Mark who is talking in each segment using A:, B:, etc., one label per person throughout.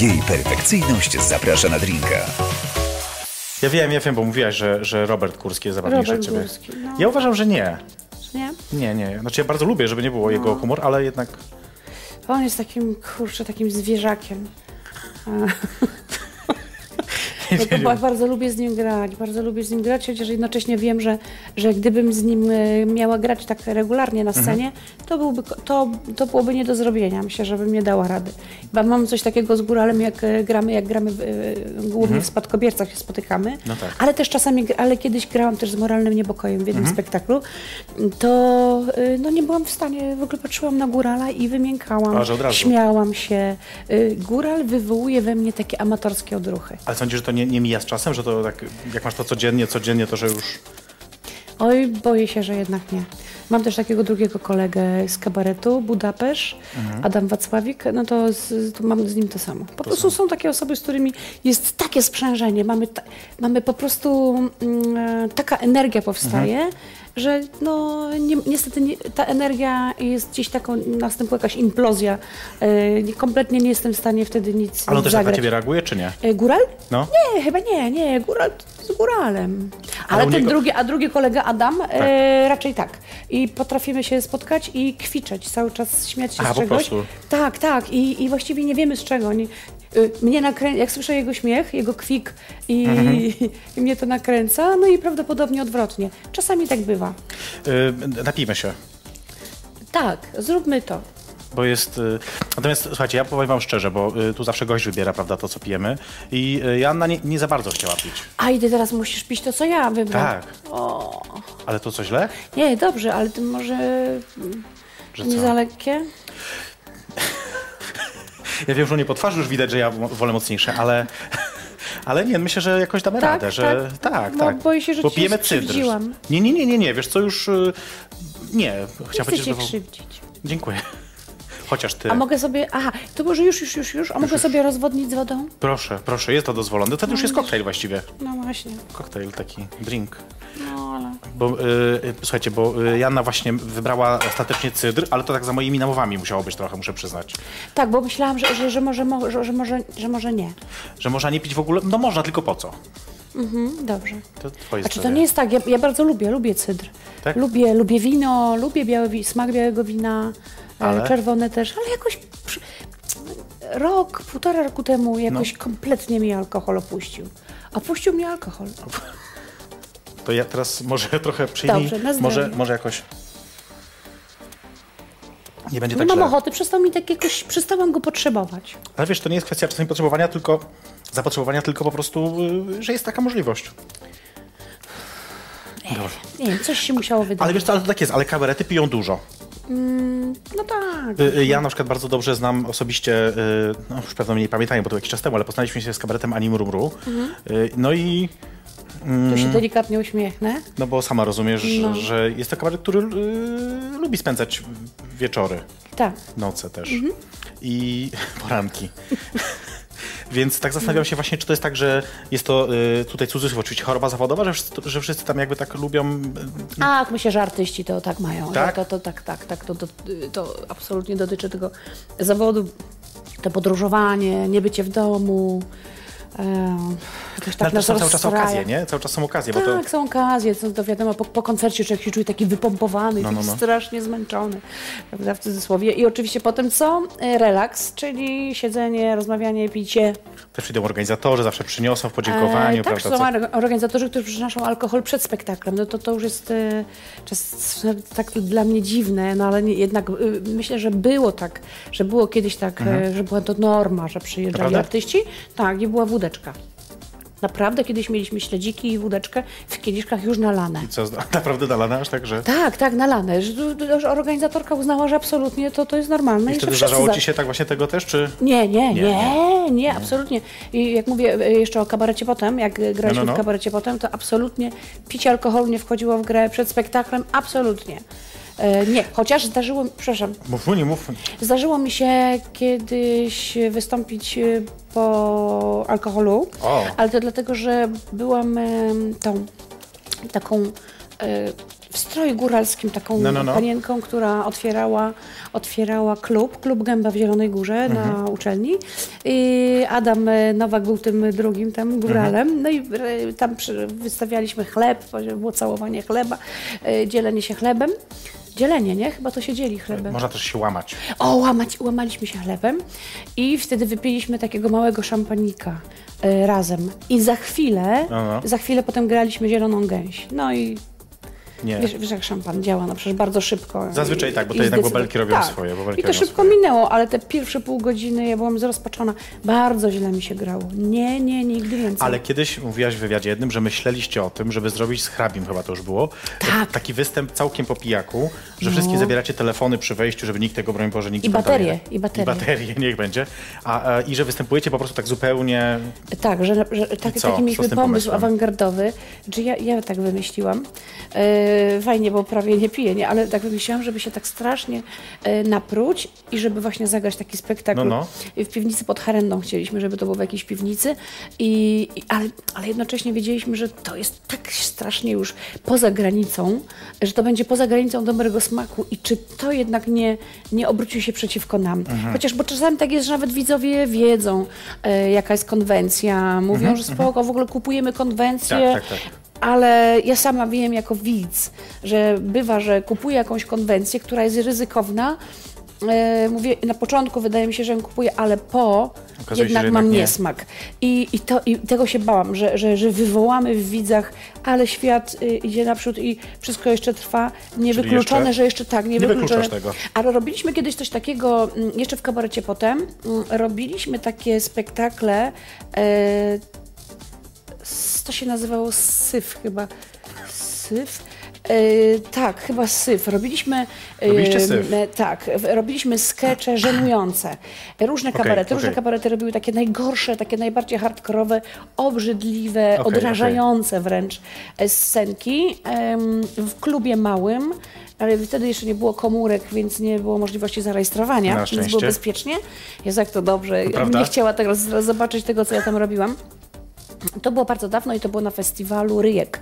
A: Jej perfekcyjność zaprasza na drinka.
B: Ja wiem, ja wiem, bo mówiłaś, że, że Robert Kurski jest zabawniejszy
C: Robert
B: od ciebie.
C: Górski, no.
B: Ja uważam, że nie.
C: Nie?
B: Nie, nie. Znaczy ja bardzo lubię, żeby nie było
C: No.
B: jego humor, ale jednak
C: On jest takim, kurczę, takim zwierzakiem. Ja No ba- bardzo lubię z nim grać, bardzo lubię z nim grać, chociaż jednocześnie wiem, że, że gdybym z nim e, miała grać tak regularnie
B: Mhm.
C: na scenie, to, byłby, ko- to, to byłoby nie do zrobienia. Myślę, że bym nie dała rady. Bo mam coś takiego z góralem, jak e, gramy, jak gramy w, e, głównie w spadkobiercach się spotykamy,
B: Mhm. No tak. Mhm.
C: ale też czasami, gr- ale kiedyś grałam też z moralnym niepokojem w jednym spektaklu, to e, no, nie byłam w stanie, w ogóle patrzyłam na górala i wymiękałam,
B: A, że od razu.
C: śmiałam się. E, Góral wywołuje we mnie takie amatorskie odruchy.
B: Ale sądzisz, że to nie, nie mija z czasem, że to tak, jak masz to codziennie, codziennie, to że już...
C: Oj, boję się, że jednak nie. Mam też takiego drugiego kolegę z kabaretu, Budapesz,
B: Mhm.
C: Adam Wacławik, no to, z, to mam z nim to samo. Po prostu są takie osoby, z którymi jest takie sprzężenie, mamy, ta, mamy po prostu mm, e, taka energia powstaje,
B: Mhm.
C: że no ni niestety nie, ta energia jest gdzieś taką, następuje jakaś implozja. E, nie- kompletnie nie jestem w stanie wtedy nic
B: Ale on też tak na
C: zagrać.
B: ciebie reaguje, czy nie?
C: E, Góral?
B: No.
C: Nie, chyba nie, nie, góral z góralem. Ale,
B: u
C: ten
B: niego-
C: drugi, a drugi kolega Adam e, raczej tak. I potrafimy się spotkać i kwiczeć, cały czas śmiać się
B: A,
C: z
B: po
C: czegoś.
B: prostu.
C: Tak, tak. I, i właściwie nie wiemy z czego. Nie, y, mnie nakrę... Jak słyszę jego śmiech, jego kwik i,
B: Mhm.
C: i mnie to nakręca, no i prawdopodobnie odwrotnie. Czasami tak bywa.
B: Yy, napijmy się.
C: Tak, zróbmy to.
B: Bo jest. y, Natomiast słuchajcie, ja powiem wam szczerze, bo y, tu zawsze gość wybiera, prawda, to co pijemy. I y, Joanna nie, nie za bardzo chciała pić.
C: A i ty teraz musisz pić to, co ja wybrałam.
B: Tak.
C: O,
B: Ale to co źle?
C: nie, dobrze, ale ty może mm,
B: Że
C: nie
B: co?
C: za lekkie?
B: Ja wiem, że u niej po twarzy już widać, że ja mo- wolę mocniejsze, ale. Ale nie, myślę, że jakoś damy
C: Tak,
B: radę, że
C: tak.
B: tak,
C: Bo
B: tak.
C: boję się, że
B: Bo
C: cię
B: pijemy cydr.
C: skrzywdziłam.
B: Nie, nie, nie, nie, nie, wiesz co, już. y, Nie,
C: Nie
B: chciałem
C: chcę
B: powiedzieć,
C: cię
B: że. to-
C: krzywdzić.
B: Dziękuję. Chociaż ty.
C: A mogę sobie. Aha, to może już, już, już, już. A mogę sobie rozwodnić z wodą?
B: Proszę, proszę, jest to dozwolone. To już jest koktajl właściwie.
C: No właśnie.
B: Koktajl taki, drink.
C: No ale.
B: Bo, y, y, słuchajcie, bo y, Janna właśnie wybrała ostatecznie cydr, ale to tak za moimi namowami musiało być trochę, muszę przyznać.
C: Tak, bo myślałam, że, że, że, może, mo- że, że, może, że może nie.
B: Że można nie pić w ogóle, no można, tylko po co?
C: Mhm, dobrze.
B: To twoje
C: Znaczy, to
B: zdanie.
C: nie jest tak. Ja, ja bardzo lubię, lubię cydr.
B: Tak?
C: Lubię, lubię wino, lubię białe, wi- smak białego wina, e,
B: Ale?
C: czerwone też, ale jakoś. Przy... Rok, półtora roku temu
B: No.
C: jakoś kompletnie mi alkohol opuścił. Opuścił mnie alkohol.
B: To ja teraz może trochę przyjmij,
C: Dobrze, na zdrowie.
B: może, może jakoś... Nie będzie
C: Nie
B: tak
C: mam
B: źle.
C: ochoty, przestał mi tak jakoś, przestałam go potrzebować.
B: Ale wiesz, to nie jest kwestia czasami potrzebowania, tylko zapotrzebowania, tylko po prostu, y, że jest taka możliwość. Dobrze.
C: Nie wiem, coś się musiało wydarzyć.
B: Ale wiesz co, ale to tak jest, ale kabarety piją dużo.
C: No tak.
B: Y, y, Ja na przykład bardzo dobrze znam osobiście, y, no już pewno mnie nie pamiętają, bo to jakiś czas temu, ale poznaliśmy się z kabaretem Anim Rumru. Y, No i, Mhm.
C: Tu się delikatnie uśmiechnę.
B: no bo sama rozumiesz,
C: No.
B: że, że jest to kabaret, który y, lubi spędzać wieczory,
C: Tak.
B: noce też i poranki. Więc tak zastanawiam się właśnie, czy to jest tak, że jest to y, tutaj cudzysłów oczywiście choroba zawodowa, że wszyscy, że wszyscy tam jakby tak lubią... y,
C: Ach, myślę, że artyści to tak mają. że
B: Tak?
C: To, to, tak, tak, tak. To, to, to absolutnie dotyczy tego zawodu. To podróżowanie, niebycie w domu. E,
B: No,
C: jakoś
B: ale
C: tak
B: też
C: nas
B: są cały czas
C: rozstraja.
B: okazje, nie? Cały czas są okazje, bo to...
C: Tak, są okazje, to, to wiadomo, po, po koncercie człowiek się czuje taki wypompowany,
B: No,
C: taki
B: no, no.
C: strasznie zmęczony, prawda, w cudzysłowie. I oczywiście potem co? E, Relaks, czyli siedzenie, rozmawianie, picie,
B: Też przyjdą organizatorzy, zawsze przyniosą w
C: E,
B: podziękowaniu,
C: tak,
B: prawda?
C: są
B: co-
C: or- organizatorzy, którzy przynoszą alkohol przed spektaklem. No to, to już jest e, czas, tak dla mnie dziwne, no ale nie, jednak e, myślę, że było tak, że było kiedyś tak, e, że była to norma, że przyjeżdżali
B: Mhm. Naprawdę?
C: artyści. Tak, i była wódeczka. Naprawdę kiedyś mieliśmy śledziki i wódeczkę w kieliszkach już nalane.
B: Co, zna- naprawdę dalane aż tak, że...
C: Tak, tak, nalane. Że, że- że organizatorka uznała, że absolutnie to, to jest normalne.
B: I
C: że
B: wtedy
C: wszyscy
B: zdarzało
C: za-
B: ci się tak właśnie tego też, czy...
C: nie, nie, nie,
B: nie.
C: nie, absolutnie. I jak mówię e, jeszcze o kabarecie potem, jak e, graliśmy
B: No, no, no.
C: w kabarecie potem, to absolutnie picie alkoholu nie wchodziło w grę przed spektaklem, absolutnie. E, Nie, chociaż zdarzyło, przepraszam,
B: Mów, mów, nie mów.
C: zdarzyło mi się kiedyś wystąpić e, po alkoholu,
B: O.
C: ale to dlatego, że byłą em, tą taką e, w stroju góralskim taką
B: No, no, no.
C: panienką, która otwierała, otwierała klub, klub Gęba w Zielonej Górze
B: Mhm.
C: na uczelni. I Adam e, Nowak był tym drugim tam góralem.
B: Mhm.
C: No i e, tam przy, wystawialiśmy chleb, było całowanie chleba, e, dzielenie się chlebem. Dzielenie, nie? Chyba to się dzieli chlebem.
B: Można też się łamać.
C: O, łamać, łamaliśmy się chlebem i wtedy wypiliśmy takiego małego szampanika e, razem. I za chwilę,
B: Aha.
C: za chwilę potem graliśmy zieloną gęś. No i
B: Nie.
C: wiesz, wiesz jak szampan działa, no przecież bardzo szybko.
B: Zazwyczaj
C: I-
B: tak, bo
C: i
B: to jednak
C: zdecyd-
B: bąbelki robią swoje, bąbelki
C: I to
B: robią
C: szybko
B: swoje.
C: minęło, ale te pierwsze pół godziny ja byłam zrozpaczona. Bardzo źle mi się grało. Nie, nie, nigdy więcej.
B: Ale kiedyś mówiłaś w wywiadzie jednym, że myśleliście o tym, żeby zrobić z hrabim, chyba to już było,
C: Tak. No.
B: taki występ całkiem po pijaku, że wszystkim zabieracie telefony przy wejściu, żeby nikt tego, broń Boże, nigdzie
C: I
B: tam dalej
C: baterie,
B: nie-
C: i baterie.
B: I baterie, niech będzie. A, a, I że występujecie po prostu tak zupełnie...
C: Tak, że, że tak,
B: I co?
C: taki
B: Co
C: mieliśmy
B: z tym
C: pomysł
B: pomysłem?
C: awangardowy, że ja, ja tak wymyśliłam. E, fajnie, bo prawie nie piję, nie? ale tak wymyśliłam, żeby się tak strasznie e, napruć i żeby właśnie zagrać taki spektakl.
B: No, no.
C: W piwnicy pod Harendą chcieliśmy, żeby to było w jakiejś piwnicy, i, i, ale, ale jednocześnie wiedzieliśmy, że to jest tak strasznie już poza granicą, że to będzie poza granicą dobrego smaku i czy to jednak nie, nie obróci się przeciwko nam.
B: Mhm.
C: Chociaż, bo czasami tak jest, że nawet widzowie wiedzą, e, jaka jest konwencja, mówią, że spoko, w ogóle kupujemy konwencję.
B: Mhm, Tak, tak, tak.
C: Ale ja sama wiem jako widz, że bywa, że kupuję jakąś konwencję, która jest ryzykowna. E, mówię, na początku wydaje mi się, że ją kupuję, ale po
B: Okazuje się,
C: jednak
B: że
C: mam
B: jednak nie.
C: niesmak. I, i, to, I tego się bałam, że, że, że wywołamy w widzach, ale świat y, idzie naprzód i wszystko jeszcze trwa. Niewykluczone,
B: jeszcze?
C: że jeszcze tak, nie
B: Nie
C: niewykluczone.
B: wykluczasz tego.
C: Ale robiliśmy kiedyś coś takiego, mm, jeszcze w kabarecie potem, mm, robiliśmy takie spektakle, e, s- to się nazywało syf chyba, syf? E, tak, chyba syf. Robiliśmy. e,
B: Robiliście syf?
C: e, tak, w- robiliśmy skecze żenujące. Różne
B: Okej,
C: kabarety, różne
B: okej.
C: kabarety robiły takie najgorsze, takie najbardziej hardkorowe, obrzydliwe,
B: Okej,
C: odrażające wręcz e, scenki em, w klubie małym, ale wtedy jeszcze nie było komórek, więc nie było możliwości
B: Na
C: zarejestrowania, więc było
B: szczęście.
C: bezpiecznie. Jezu, jak to dobrze.
B: prawda?
C: Nie chciała tego, z- zobaczyć tego, co ja tam robiłam. To było bardzo dawno i to było na festiwalu Ryjek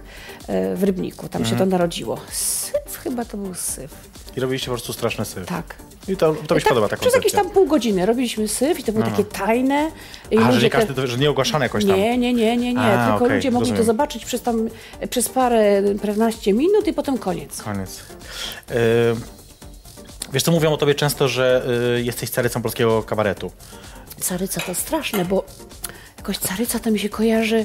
C: e, w Rybniku. Tam się to
B: Mhm.
C: narodziło. Syf, chyba to był syf.
B: I robiliście po prostu straszny syf.
C: Tak.
B: I to, to mi się
C: Tak,
B: podoba ta
C: Przez jakieś
B: koncepcja. No,
C: tam pół godziny robiliśmy syf i to było takie tajne. I
B: A, że
C: ludzie
B: nie
C: te-
B: każdy, to, że nie ogłaszane jakoś tam.
C: nie, nie, nie, nie, nie.
B: A,
C: Tylko
B: okej,
C: ludzie mogli to
B: rozumiem.
C: zobaczyć przez tam przez parę, paręnaście minut i potem koniec.
B: Koniec. Y, Wiesz co, mówią o tobie często, że y, jesteś carycą polskiego kabaretu.
C: Tak. Caryca to straszne, bo jakoś caryca to mi się kojarzy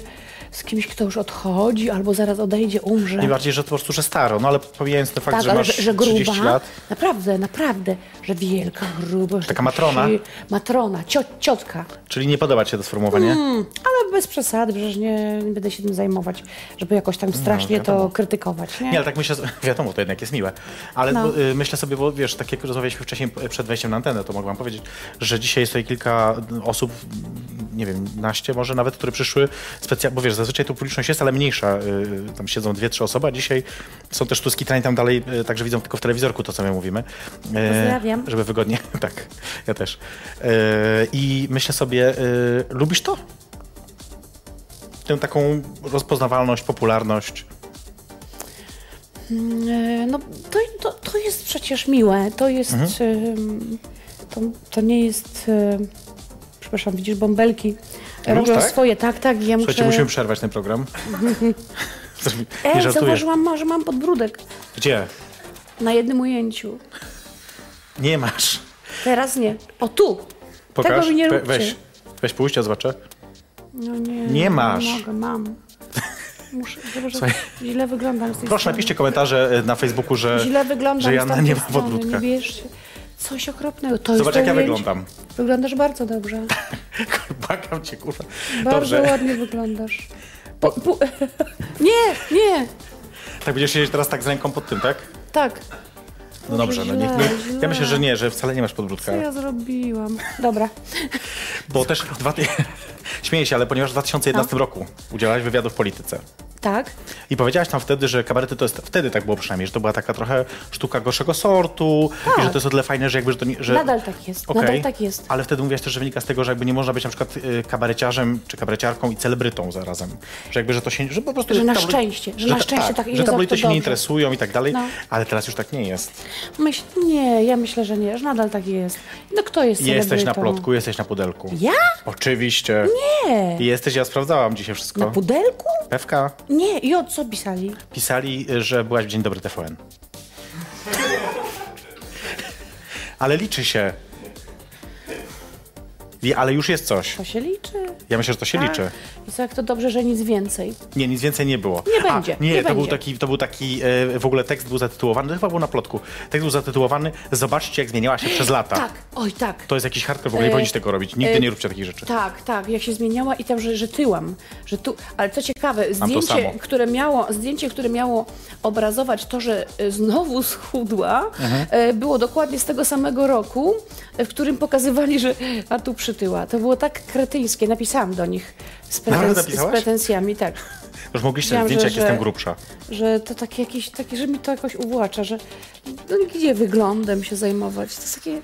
C: z kimś, kto już odchodzi albo zaraz odejdzie, umrze.
B: Nie bardziej, że to po prostu, że staro, no ale pomijając ten fakt,
C: tak,
B: że
C: ale
B: masz
C: że, że gruba,
B: 30 lat.
C: naprawdę, naprawdę, że wielka, gruba. że
B: Taka matrona?
C: si- Matrona, cio, ciotka.
B: Czyli nie podoba ci się to sformułowanie?
C: Mm, ale bez przesady, przecież nie, nie będę się tym zajmować, żeby jakoś tam strasznie to
B: No, wiadomo.
C: krytykować. Nie?
B: Nie, ale tak myślę, że- wiadomo, to jednak jest miłe. Ale
C: No.
B: bo, y, myślę sobie, bo wiesz, tak jak rozmawialiśmy wcześniej y, przed wejściem na antenę, to mogę wam powiedzieć, że dzisiaj jest tutaj kilka y, osób, y, nie wiem, naście może nawet, które przyszły specjalnie, bo wiesz, zazwyczaj tu publiczność jest, ale mniejsza, y, tam siedzą dwie, trzy osoby, a dzisiaj są też tu skitrani tam dalej, y, także widzą tylko w telewizorku to, co my mówimy. Y,
C: Pozdrawiam.
B: Żeby wygodnie, tak, ja też. Y, I myślę sobie, y, lubisz to? Tę taką rozpoznawalność, popularność.
C: E, No, to, to, to jest przecież miłe. To jest.
B: Mhm.
C: em, To, to nie jest. em, Przepraszam, widzisz, bąbelki
B: Już
C: robią
B: tak?
C: swoje. Tak, tak. i Ja muszę.
B: Słuchajcie, musimy przerwać ten program. Zrobi- Nie
C: Ej,
B: żartuję.
C: E, zauważyłam, ma- że mam podbródek
B: Gdzie?
C: na jednym ujęciu.
B: Nie masz.
C: Teraz nie. O tu!
B: Pokaż.
C: Tego mi nie
B: We-
C: róbcie.
B: Weź. Weź pójść, ja zobaczę.
C: No nie,
B: Nie masz.
C: Nie mogę, mam. Muszę, zobacz,
B: Słuchaj.
C: źle wyglądam z tej
B: Proszę,
C: strony.
B: napiszcie komentarze e, na Facebooku, że,
C: Źle wyglądam
B: że
C: z
B: Jana
C: tamtej
B: nie ma
C: strony,
B: podbródka.
C: Nie bierzcie. Coś okropnego.
B: Zobacz,
C: To jest to
B: jak ja
C: ujęcie.
B: wyglądam.
C: Wyglądasz bardzo dobrze.
B: Błagam cię, kurwa.
C: Bardzo
B: Dobrze.
C: ładnie wyglądasz. Po, pu- nie, nie,
B: Tak będziesz siedzieć teraz tak z ręką pod tym, tak?
C: tak.
B: No dobrze, no
C: źle,
B: niech nie.
C: źle.
B: Ja myślę, że nie, że wcale nie masz podbródka.
C: Co ja zrobiłam? Dobra. No.
B: Bo też dwa... Śmieję się, ale ponieważ w 2011 roku udzielałaś wywiadu w polityce.
C: Tak.
B: I powiedziałaś tam wtedy, że kabarety to jest, wtedy tak było przynajmniej, że to była taka trochę sztuka gorszego sortu i że to jest o tyle fajne, że jakby, że to nie, że...
C: Tak. Nadal tak jest,
B: Okej.
C: nadal tak jest.
B: Ale wtedy mówiłaś też, że wynika z tego, że jakby nie można być na przykład y, kabareciarzem czy kabareciarką i celebrytą zarazem. Że jakby, że to się, że po prostu...
C: Że na
B: tabloid-
C: szczęście, że na
B: ta-
C: szczęście tak
B: Że
C: jest
B: tabloidy
C: zawsze
B: się nie
C: dobrze.
B: interesują i tak dalej,
C: No.
B: ale teraz już tak nie jest.
C: Myśl, nie, ja myślę, że nie, że nadal tak jest. No kto jest
B: Jesteś na
C: celebrytą?
B: plotku, jesteś na pudelku.
C: Ja?
B: Oczywiście.
C: Nie.
B: Jesteś, ja sprawdzałam dzisiaj
C: Na
B: wszystko.
C: pudelku?
B: Pewka
C: Nie, i o co pisali?
B: pisali, y, że byłaś w Dzień Dobry TVN. Ale liczy się. I- Ale już jest coś.
C: To się liczy.
B: Ja myślę, że to się
C: Tak.
B: liczy.
C: I co, jak to dobrze, że nic więcej.
B: Nie, nic więcej nie było.
C: Nie będzie,
B: A, nie,
C: nie
B: to, Był
C: będzie.
B: taki, to był taki, e, w ogóle tekst był zatytułowany, to chyba był na plotku. Tekst był zatytułowany Zobaczcie, jak zmieniała się przez lata.
C: Tak, oj tak.
B: To jest jakiś hardcore, w ogóle nie
C: E,
B: powinniście tego robić. Nigdy
C: e,
B: nie róbcie takich rzeczy.
C: Tak, tak, jak się zmieniała i tam, że, że tyłam, że tu, ale co ciekawe, zdjęcie,
B: samo.
C: które miało, zdjęcie, które miało obrazować to, że e, znowu schudła,
B: Mhm.
C: e, było dokładnie z tego samego roku, e, w którym pokazywali, że a tu przytyła. To było tak kretyńskie, napisałam do nich z,
B: Naprawdę
C: pretens- z
B: napisałaś?
C: pretensjami, tak,
B: Już mogliście
C: Wiedziałam,
B: zdjęcie,
C: że-
B: jak
C: że-
B: jestem grubsza.
C: że to takie jakieś, takie, że mi to jakoś uwłacza, że no, gdzie wyglądem się zajmować, to jest takie...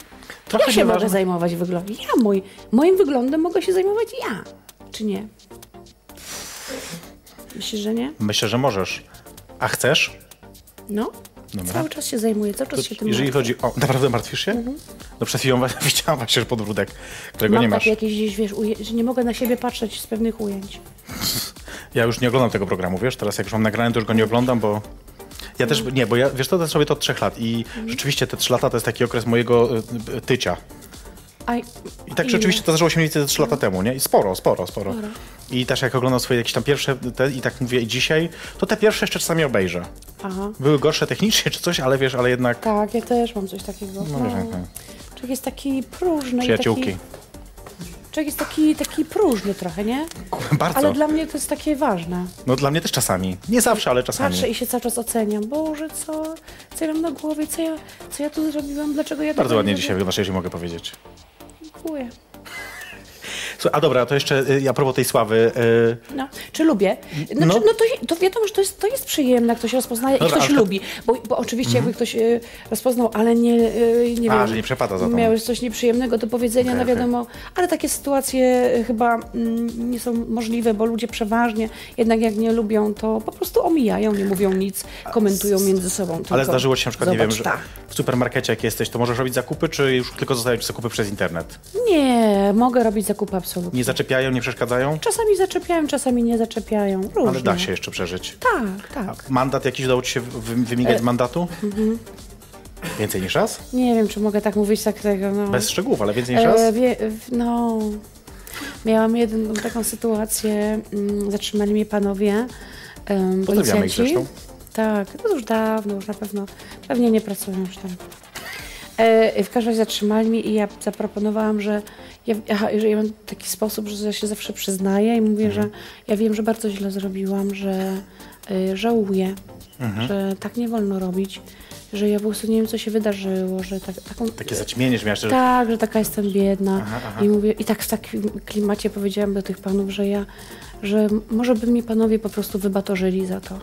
B: Trochę
C: ja się
B: nieważne.
C: mogę zajmować wyglądem. Ja mój, moim wyglądem mogę się zajmować ja. Czy nie? Myślisz, że nie?
B: Myślę, że możesz. A chcesz?
C: No.
B: Dobra.
C: Cały czas się zajmuję, cały czas się tym
B: Jeżeli
C: martwię. Mhm.
B: chodzi o... Naprawdę martwisz się? No przed chwilą widziałam właśnie podbródek, którego
C: Mam
B: nie masz.
C: takie jakieś gdzieś, wiesz, uje- że nie mogę na siebie patrzeć z pewnych ujęć.
B: Ja już nie oglądam tego programu, wiesz, teraz jak już mam nagrane, to już go nie oglądam, bo... Ja też,
C: Mhm.
B: nie, bo ja, wiesz co, też robię to od trzech lat i rzeczywiście te trzy lata to jest taki okres mojego y, y, tycia.
C: A,
B: I tak rzeczywiście to zaczęło się mniej więcej 3 lata temu, nie? I sporo, sporo, sporo. I też jak oglądam swoje jakieś tam pierwsze, te, i tak mówię i dzisiaj, to te pierwsze jeszcze czasami obejrzę.
C: Aha.
B: Były gorsze technicznie czy coś, ale wiesz, ale jednak...
C: Tak, ja też mam coś takiego. No,
B: wiesz, tak.
C: Człowiek jest taki próżny. i
B: Przyjaciółki.
C: Taki, człowiek jest taki, taki próżny trochę, nie?
B: Bardzo.
C: Ale dla mnie to jest takie ważne.
B: No dla mnie też czasami. Nie zawsze, ale czasami.
C: Patrzę i się cały czas oceniam. Boże, co, co ja mam na głowie, co ja, co ja tu zrobiłam, dlaczego ja
B: Bardzo
C: tego
B: ładnie
C: nie
B: dzisiaj wyglądasz, jeśli mogę powiedzieć.
C: Dziękuję.
B: Słuchaj, A dobra, to jeszcze y, a propos tej sławy. y,
C: No, czy lubię? Znaczy,
B: No.
C: no. to, to wiadomo, że to jest, to jest przyjemne, jak ktoś rozpoznaje
B: Dobra,
C: i ktoś
B: ale to-
C: lubi. Bo, bo oczywiście jakby ktoś e, rozpoznał, ale nie, e, nie
B: A,
C: wiem,
B: że nie przepada za tą.
C: Miałeś coś nieprzyjemnego do powiedzenia,
B: Okej,
C: no wiadomo. Ale takie sytuacje e, chyba mm, nie są możliwe, bo ludzie przeważnie jednak jak nie lubią, to po prostu omijają, nie mówią nic, komentują między sobą tylko.
B: Ale zdarzyło ci się na przykład, nie
C: No Zobacz, tak.
B: wiem, że
C: ta.
B: w supermarkecie jak jesteś, to możesz robić zakupy, czy już tylko zostawiać zakupy przez internet?
C: Nie, mogę robić zakupy absolutnie.
B: Nie zaczepiają, nie przeszkadzają?
C: Czasami zaczepiają, czasami nie zaczepiają. Różnie.
B: Ale da się jeszcze przeżyć.
C: Tak, tak.
B: Mandat jakiś udało ci się wy- wymigać
C: E,
B: z mandatu?
C: mhm.
B: Więcej niż raz?
C: Nie wiem, czy mogę tak mówić tak tego, no.
B: Bez szczegółów, ale więcej niż raz?
C: E, wie, w- no, miałam jedną taką sytuację, mm, zatrzymali mnie panowie, um,
B: Pozdrawiamy ich
C: policjanci.
B: zresztą.
C: Tak, to już dawno, już na pewno, pewnie nie pracują już tam. E, w każdym razie zatrzymali mnie i ja zaproponowałam, że ja, aha, że ja mam taki sposób, że ja się zawsze przyznaję i mówię,
B: Mhm.
C: że ja wiem, że bardzo źle zrobiłam, że y, żałuję,
B: Mhm.
C: że tak nie wolno robić, że ja po prostu nie wiem, co się wydarzyło, że tak, taką...
B: Takie zaćmienie, że miałeś, że
C: Tak, że taka jestem biedna. I, mówię, I tak w takim klimacie powiedziałam do tych panów, że ja, że m- może by mi panowie po prostu wybatorzyli za to.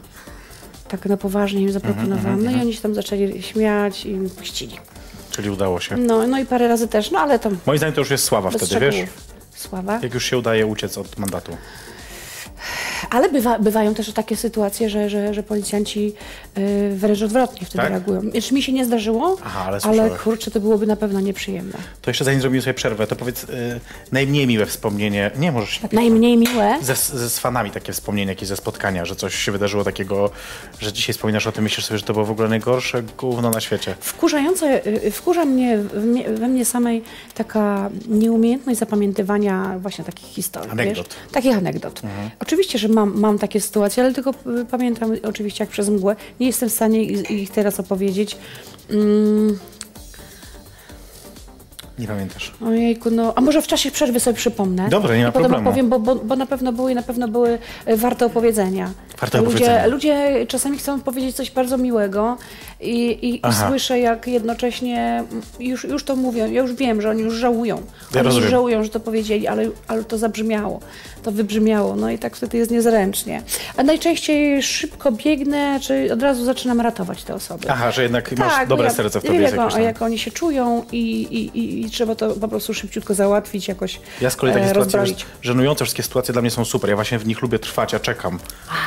C: Tak na poważnie im
B: Mhm,
C: zaproponowałam. No i oni się tam zaczęli śmiać i mi puścili.
B: czyli udało się.
C: No, no i parę razy też, no ale tam
B: Moim zdaniem to już jest sława
C: bez
B: wtedy,
C: szczegółów.
B: wiesz?
C: Sława.
B: Jak już się udaje uciec od mandatu.
C: Ale bywa, bywają też takie sytuacje, że, że, że policjanci yy, wręcz odwrotnie wtedy
B: Tak?
C: reagują. Znaczy mi się nie zdarzyło,
B: Aha, ale
C: ale
B: słyszałeś.
C: kurczę, to byłoby na pewno nieprzyjemne.
B: To jeszcze zanim zrobimy sobie przerwę, to powiedz y, najmniej miłe wspomnienie. Nie, możesz się napisać.
C: Najmniej miłe.
B: Ze, ze, z fanami takie wspomnienia, jakieś ze spotkania, że coś się wydarzyło takiego, że dzisiaj wspominasz o tym, myślisz sobie, że to było w ogóle najgorsze gówno na świecie.
C: Wkurzające, y, wkurza mnie, w mnie, we mnie samej taka nieumiejętność zapamiętywania właśnie takich historii.
B: Anegdot.
C: Wiesz? Takich anegdot. Oczywiście, że mam, mam takie sytuacje, ale tylko y, pamiętam oczywiście jak przez mgłę. Nie jestem w stanie ich, ich teraz opowiedzieć. Mm,
B: Nie pamiętasz.
C: ojejku, no, a może w czasie przerwy sobie przypomnę?
B: Dobra, nie ma
C: I potem
B: problemu.
C: opowiem, bo, bo, bo na pewno były, na pewno były y, warte opowiedzenia.
B: Warte
C: ludzie,
B: opowiedzenia.
C: ludzie czasami chcą powiedzieć coś bardzo miłego i, i, i
B: Aha.
C: słyszę, jak jednocześnie mm, już, już to mówią, ja już wiem, że oni już żałują.
B: Ja
C: oni
B: rozumiem.
C: już żałują, że to powiedzieli, ale, ale to zabrzmiało, to wybrzmiało, no i tak wtedy jest niezręcznie. A najczęściej szybko biegnę, czy od razu zaczynam ratować te osoby.
B: Aha, że jednak masz
C: bo
B: dobre
C: ja-
B: serce w
C: ja
B: tobie.
C: Wiem,
B: jest
C: Tak, no
B: jakoś
C: jak, o-
B: tam.
C: jak oni się czują i, i, i, i trzeba to po prostu szybciutko załatwić, jakoś
B: Ja z kolei takie
C: e,
B: sytuacje,
C: rozbroić.
B: wiesz, żenujące wszystkie sytuacje dla mnie są super. Ja właśnie w nich lubię trwać, ja czekam,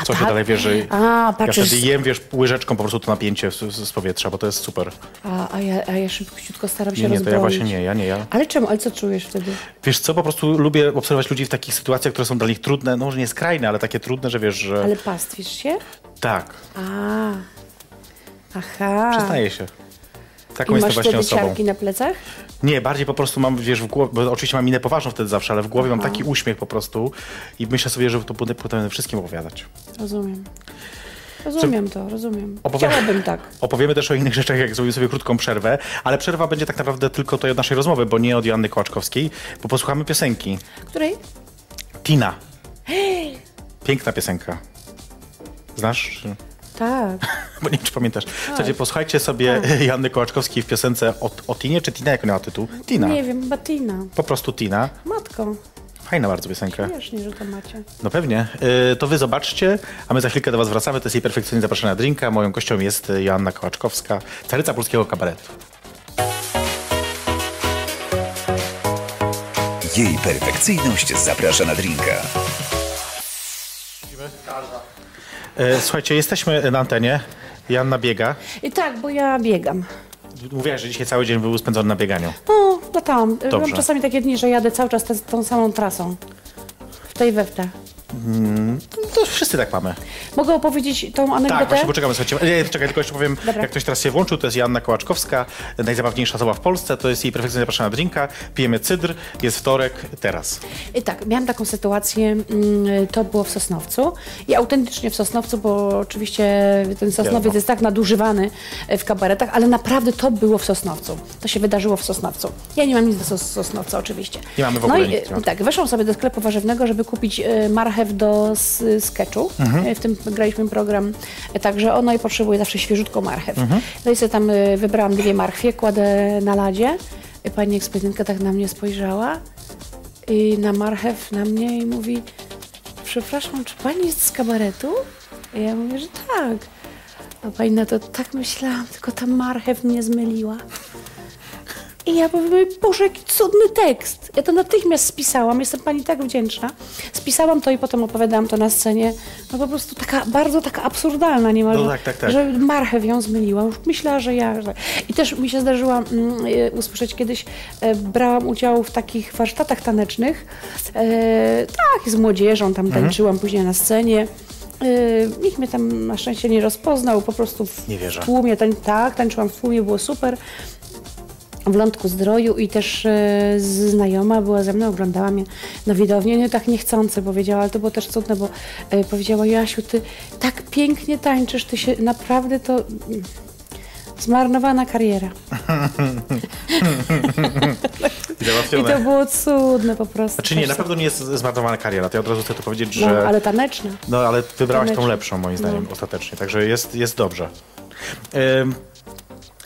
C: A,
B: co się
C: tak?
B: dalej wierzy.
C: A,
B: Ja
C: patrzysz-
B: wtedy jem, wiesz, łyżeczką po prostu to napięcie z, z powietrza, bo to jest super.
C: A, a, ja, a ja szybciutko staram się
B: Nie, nie, to
C: rozbroić.
B: ja właśnie nie, ja nie, ja.
C: Ale czemu? Ale co czujesz wtedy?
B: Wiesz co, po prostu lubię obserwować ludzi w takich sytuacjach, które są dla nich trudne, no może nie skrajne, ale takie trudne, że wiesz, że
C: Ale pastwisz się?
B: tak,
C: A. Aha.
B: przyznaję się. Taką
C: I
B: jestem
C: masz
B: właśnie
C: wtedy
B: osobą.
C: ciarki na plecach?
B: Nie, bardziej po prostu mam, wiesz, w głowie, bo oczywiście mam minę poważną wtedy zawsze, ale w głowie mam
C: Mhm.
B: taki uśmiech po prostu i myślę sobie, że to będę potem wszystkim opowiadać.
C: Rozumiem. Rozumiem to, rozumiem.
B: Opowiem-
C: Chciałabym tak.
B: Opowiemy też o innych rzeczach, jak zrobimy sobie krótką przerwę, ale przerwa będzie tak naprawdę tylko tej od naszej rozmowy, bo nie od Joanny Kołaczkowskiej, bo posłuchamy piosenki.
C: Której?
B: Tina. Piękna piosenka. Znasz?
C: Tak.
B: Bo nie wiem, czy pamiętasz. Słuchajcie, posłuchajcie sobie Joanny Kołaczkowskiej w piosence o, o Tinie, czy Tina, jak miała tytuł? Tina.
C: Nie wiem, Batina.
B: Po prostu Tina.
C: Matko,
B: Fajna bardzo piosenka.
C: wiesz, nie, że to macie.
B: No pewnie. Y, To wy zobaczcie, a my za chwilkę do was wracamy. To jest jej perfekcyjnie zapraszana drinka. Moją gością jest y, Joanna Kołaczkowska, caryca polskiego kabaretu.
A: Jej perfekcyjność zaprasza na drinka.
B: E, Słuchajcie, jesteśmy na antenie. Janna biega.
C: I tak, bo ja biegam.
B: Mówiłaś, że dzisiaj cały dzień był spędzony na bieganiu.
C: No, latałam.
B: Dobrze.
C: Mam czasami takie dni, że jadę cały czas te, tą samą trasą. W tej we w te.
B: No To wszyscy tak mamy.
C: Mogę opowiedzieć tą anegdotę?
B: Tak, właśnie poczekamy, słuchajcie. Nie, czekaj, tylko jeszcze powiem,
C: Dobra.
B: jak ktoś teraz się włączył, to jest Janna Kołaczkowska, najzabawniejsza osoba w Polsce, to jest jej perfekcyjnie zapraszana drinka, pijemy cydr, jest wtorek, teraz.
C: I tak, miałam taką sytuację, mm, to było w Sosnowcu i autentycznie w Sosnowcu, bo oczywiście ten Sosnowiec
B: Wiadomo.
C: jest tak nadużywany e, w kabaretach, ale naprawdę to było w Sosnowcu. To się wydarzyło w Sosnowcu. Ja nie mam nic do Sos- Sosnowca oczywiście.
B: Nie mamy w ogóle
C: no i,
B: nic,
C: e,
B: nie?
C: Tak, weszłam sobie do sklepu warzywnego, żeby kupić e, marchew do s- sketchu.
B: Mhm.
C: E, W tym graliśmy program e, także ono i potrzebuję zawsze świeżutką marchew.
B: Mhm.
C: No i sobie tam e, wybrałam dwie marchwie, kładę na ladzie. E, Pani ekspedientka tak na mnie spojrzała i na marchew na mnie i mówi przepraszam, czy pani jest z kabaretu? I ja mówię, że tak. A pani na to tak myślałam, tylko ta marchew mnie zmyliła. I ja powiem, Boże, jaki cudny tekst. Ja to natychmiast spisałam, jestem pani tak wdzięczna. Spisałam to i potem opowiadałam to na scenie. No po prostu taka, bardzo taka absurdalna niemal,
B: No tak, tak, tak.
C: że marchew ją zmyliłam. Już myślała, że ja... Że... I też mi się zdarzyło mm, e, usłyszeć kiedyś, e, brałam udział w takich warsztatach tanecznych. E, tak, z młodzieżą tam
B: Mhm.
C: tańczyłam później na scenie. E, nikt mnie tam na szczęście nie rozpoznał, po prostu w
B: Nie wierzę.
C: w tłumie, tań, tak, tańczyłam w tłumie, było super w Lądku Zdroju i też e, znajoma była ze mną, oglądała mnie na widowni, nie tak niechcący powiedziała, ale to było też cudne, bo e, powiedziała Jasiu, ty tak pięknie tańczysz, ty się naprawdę to... mm, Zmarnowana kariera.
B: I
C: I to
B: załatwione.
C: było cudne po prostu.
B: Czy nie,
C: Też
B: na
C: tak-
B: pewno nie jest zmarnowana kariera, to ja od razu chcę to powiedzieć,
C: No,
B: że...
C: ale taneczna.
B: No, ale wybrałaś tą
C: Lepszą.
B: lepszą, moim zdaniem, ostatecznie. Także jest, jest dobrze. Ym,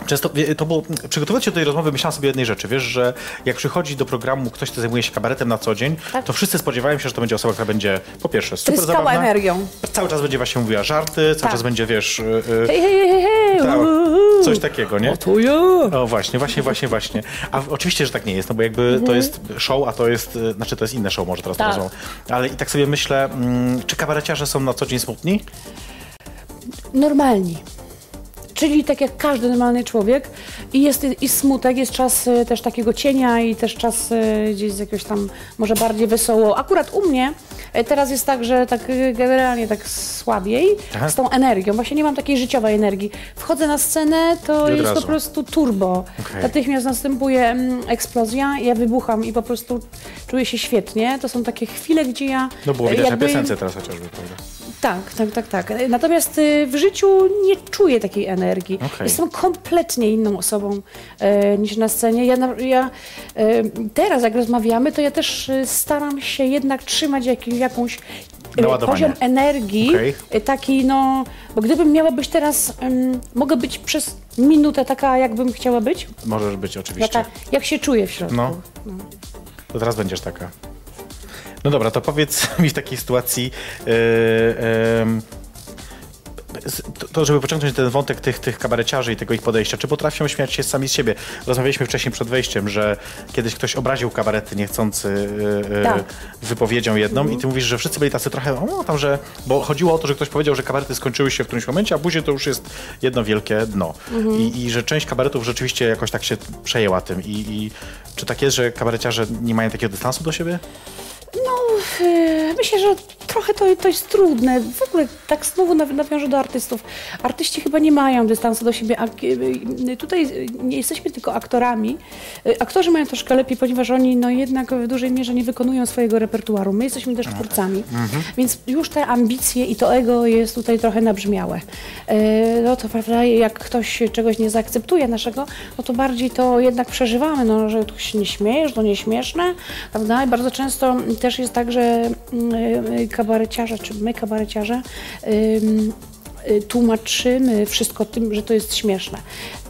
B: Często, wie- to było, przygotowując się do tej rozmowy, myślałam sobie o jednej rzeczy. Wiesz, że jak przychodzi do programu ktoś, kto zajmuje się kabaretem na co dzień,
C: Tak.
B: to wszyscy spodziewają się, że to będzie osoba, która będzie po pierwsze super
C: Tryskała
B: zabawna,
C: energią.
B: cały czas będzie właśnie mówiła żarty, cały
C: Tak.
B: czas będzie, wiesz, y, y,
C: Hej, hej, hej, hej!
B: tak,
C: uuu.
B: coś takiego, nie?
C: O to ja!
B: O właśnie, właśnie, właśnie, właśnie. A w- oczywiście, że tak nie jest, no bo jakby to jest show, a to jest, y, znaczy to jest inne show może teraz
C: Mhm. Tak.
B: tak. Ale i tak sobie myślę, mm, czy kabareciarze są na co dzień smutni?
C: normalni. Czyli tak jak każdy normalny człowiek i jest i smutek, jest czas y, też takiego cienia i też czas y, gdzieś z jakiegoś tam może bardziej wesoło. Akurat u mnie y, teraz jest tak, że tak y, generalnie tak słabiej
B: Aha.
C: z tą energią. Właśnie nie mam takiej życiowej energii. Wchodzę na scenę, to
B: I od
C: jest
B: razu.
C: po prostu turbo.
B: Okej.
C: Natychmiast następuje mm, eksplozja, ja wybucham i po prostu czuję się świetnie. To są takie chwile, gdzie ja
B: No było
C: y,
B: widać
C: jakby-
B: na piosence teraz chociażby, prawda?
C: tak, tak, tak, tak. Natomiast y, w życiu nie czuję takiej energii.
B: Okej.
C: Jestem kompletnie inną osobą e, niż na scenie. Ja, na- ja y, e, teraz, jak rozmawiamy, to ja też e, staram się jednak trzymać jak, jakąś e,
B: Naładowanie.
C: poziom energii
B: Okej.
C: e, taki, no, bo gdybym miała być teraz, em, mogę być przez minutę taka, jakbym chciała być,
B: Możesz być oczywiście.
C: taka, jak się czuję w środku.
B: No. To teraz będziesz taka. No dobra, to powiedz mi w takiej sytuacji. Yy, em, z- to- to, żeby pociągnąć ten wątek tych, tych kabareciarzy i tego ich podejścia, czy potrafią śmiać się sami z siebie? Rozmawialiśmy wcześniej przed wejściem, że kiedyś ktoś obraził kabarety niechcący yy, yy,
C: Tak.
B: wypowiedzią jedną i ty mówisz, że wszyscy byli tacy trochę, o tam, że, bo chodziło o to, że ktoś powiedział, że kabarety skończyły się w którymś momencie, a później to już jest jedno wielkie dno. I, I że część kabaretów rzeczywiście jakoś tak się przejęła tym. I, I czy tak jest, że kabareciarze nie mają takiego dystansu do siebie?
C: No, e, myślę, że trochę to, to jest trudne. W ogóle tak znowu naw- nawiążę do artystów. Artyści chyba nie mają dystansu do siebie. A, kie- y, tutaj y, nie jesteśmy tylko aktorami. Y, Aktorzy mają troszkę lepiej, ponieważ oni no, jednak w dużej mierze nie wykonują swojego repertuaru. My jesteśmy też twórcami, więc już te ambicje i to ego jest tutaj trochę nabrzmiałe. E, No to prawda, jak ktoś czegoś nie zaakceptuje naszego, no to bardziej to jednak przeżywamy, no, że tu się nie śmiejesz, to nieśmieszne, prawda? I bardzo często też jest tak, że mm, kabareciarze, czy my kabareciarze, ym, y, tłumaczymy wszystko tym, że to jest śmieszne.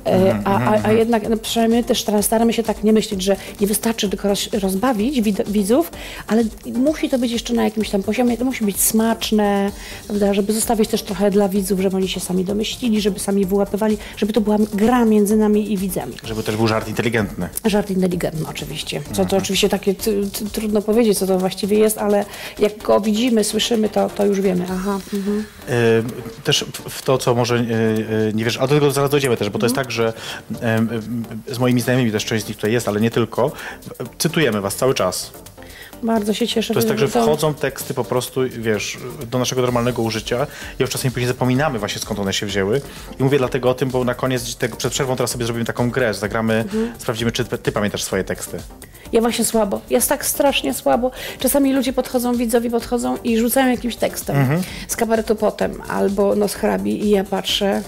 C: E, A, a, a jednak no przynajmniej też teraz staramy się tak nie myśleć, że nie wystarczy tylko roz, rozbawić wid- widzów, ale musi to być jeszcze na jakimś tam poziomie, to musi być smaczne, prawda, żeby zostawić też trochę dla widzów, żeby oni się sami domyślili, żeby sami wyłapywali, żeby to była gra między nami i widzami.
B: Żeby też był żart inteligentny.
C: Żart inteligentny oczywiście. Co to oczywiście takie t, t, trudno powiedzieć, co to właściwie jest, ale jak go widzimy, słyszymy, to, to już wiemy. Aha, mhm.
B: Em, Y, Też w- w to, co może e, e, nie wiesz, a do tego zaraz dojdziemy też, bo to jest tak, że em, em, z moimi znajomymi też część z nich tutaj jest, ale nie tylko. Cytujemy was cały czas.
C: Bardzo się cieszę.
B: To jest tak, że
C: no to-
B: wchodzą teksty po prostu, wiesz, do naszego normalnego użycia i już czasami później zapominamy właśnie skąd one się wzięły. I mówię dlatego o tym, bo na koniec tego, przed przerwą teraz sobie zrobimy taką grę, że zagramy, sprawdzimy, czy ty, ty pamiętasz swoje teksty.
C: Ja właśnie słabo. Jest tak strasznie słabo. Czasami ludzie podchodzą, widzowie podchodzą i rzucają jakimś tekstem.
B: Mhm.
C: Z kabaretu potem albo no z hrabi i ja patrzę.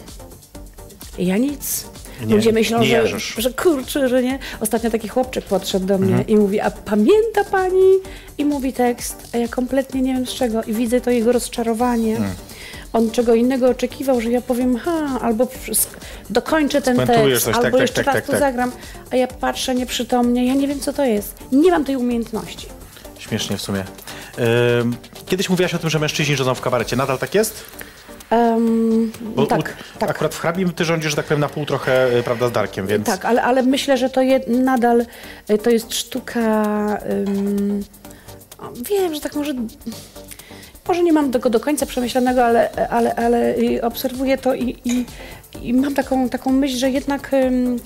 C: Ja nic.
B: Nie,
C: Ludzie myślą,
B: nie
C: że,
B: jarzysz.
C: że kurczę, że nie. Ostatnio taki chłopczyk podszedł do mnie
B: Mhm.
C: i mówi, a pamięta pani? I mówi tekst, a ja kompletnie nie wiem z czego. I widzę to jego rozczarowanie.
B: Mhm.
C: On czego innego oczekiwał, że ja powiem, ha, albo sk- dokończę ten
B: Spuentujesz
C: tekst,
B: coś, tak,
C: albo
B: tak,
C: jeszcze
B: tak,
C: raz
B: tak,
C: to
B: tak.
C: zagram, a ja patrzę nieprzytomnie, ja nie wiem, co to jest. Nie mam tej umiejętności.
B: Śmiesznie w sumie. Em, Kiedyś mówiłaś o tym, że mężczyźni rządzą w kabarecie. Nadal tak jest?
C: Em,
B: Bo
C: tak,
B: u,
C: tak.
B: Akurat w hrabim ty rządzisz, że tak powiem, na pół trochę, y, prawda, z Darkiem, więc...
C: Tak, ale, ale myślę, że to jed, nadal y, to jest sztuka. ym, o, wiem, że tak może. Może nie mam tego do końca przemyślanego, ale, ale, ale y, obserwuję to i, i, i mam taką, taką myśl, że jednak ym,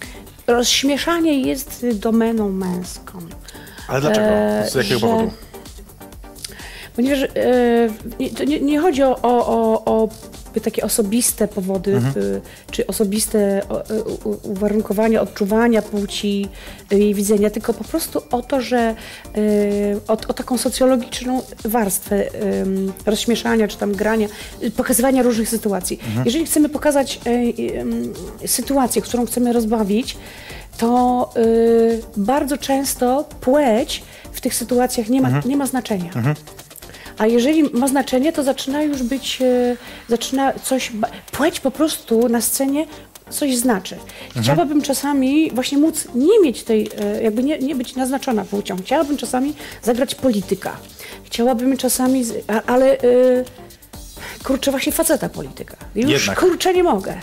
C: rozśmieszanie jest domeną męską.
B: Ale dlaczego?
C: Eee,
B: Z jakiego
C: że-
B: powodu?
C: Ponieważ e, nie, to nie, nie chodzi o, o, o, o takie osobiste powody, y, czy osobiste o, y, u- uwarunkowania odczuwania płci y, i widzenia, tylko po prostu o to, że y, o, o taką socjologiczną warstwę ym, rozśmieszania, czy tam grania, y, pokazywania różnych sytuacji. Jeżeli chcemy pokazać y, y, ym, sytuację, którą chcemy rozbawić, to y, bardzo często płeć w tych sytuacjach nie ma, nie ma znaczenia. A jeżeli ma znaczenie, to zaczyna już być, e, zaczyna coś, ba- płeć po prostu na scenie coś znaczy.
B: Mhm.
C: Chciałabym czasami właśnie móc nie mieć tej, e, jakby nie, nie być naznaczona płcią. Chciałabym czasami zagrać polityka. Chciałabym czasami, z- a, ale e, kurczę właśnie faceta polityka. Już
B: Jednak.
C: kurczę nie mogę.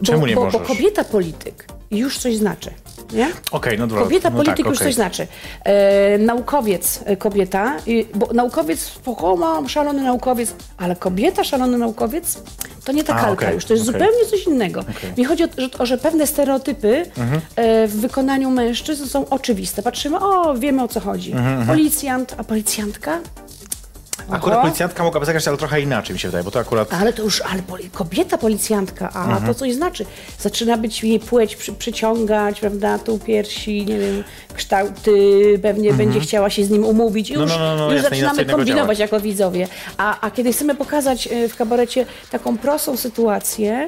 C: Bo,
B: Czemu nie
C: bo, bo
B: możesz?
C: kobieta polityk już coś znaczy. Nie?
B: Okej, no dobra.
C: Kobieta,
B: no
C: polityk
B: tak,
C: już
B: okej.
C: coś znaczy. E, naukowiec, e, kobieta, i, bo naukowiec, spoko, mam szalony naukowiec, ale kobieta, szalony naukowiec, to nie ta
B: A,
C: kalka
B: okej,
C: już, to jest
B: okej.
C: zupełnie coś innego. Mi chodzi o, to, że, o, że pewne stereotypy
B: Mhm.
C: e, w wykonaniu mężczyzn są oczywiste. Patrzymy, o, wiemy o co chodzi.
B: Mhm,
C: Policjant, a policjantka?
B: Akurat
C: Oho.
B: policjantka mogłaby zagrać, ale trochę inaczej mi się wydaje, bo to akurat... Mhm.
C: Ale to już, ale poli- kobieta policjantka, a to coś znaczy. Zaczyna być jej płeć przy, przyciągać, prawda, tu piersi, nie wiem, kształty, pewnie będzie chciała się z nim umówić. Już,
B: Mhm. no, no, no,
C: już
B: jasne,
C: zaczynamy
B: jasne, innego
C: kombinować jako widzowie. A, a kiedy chcemy pokazać e, w kabarecie taką prostą sytuację,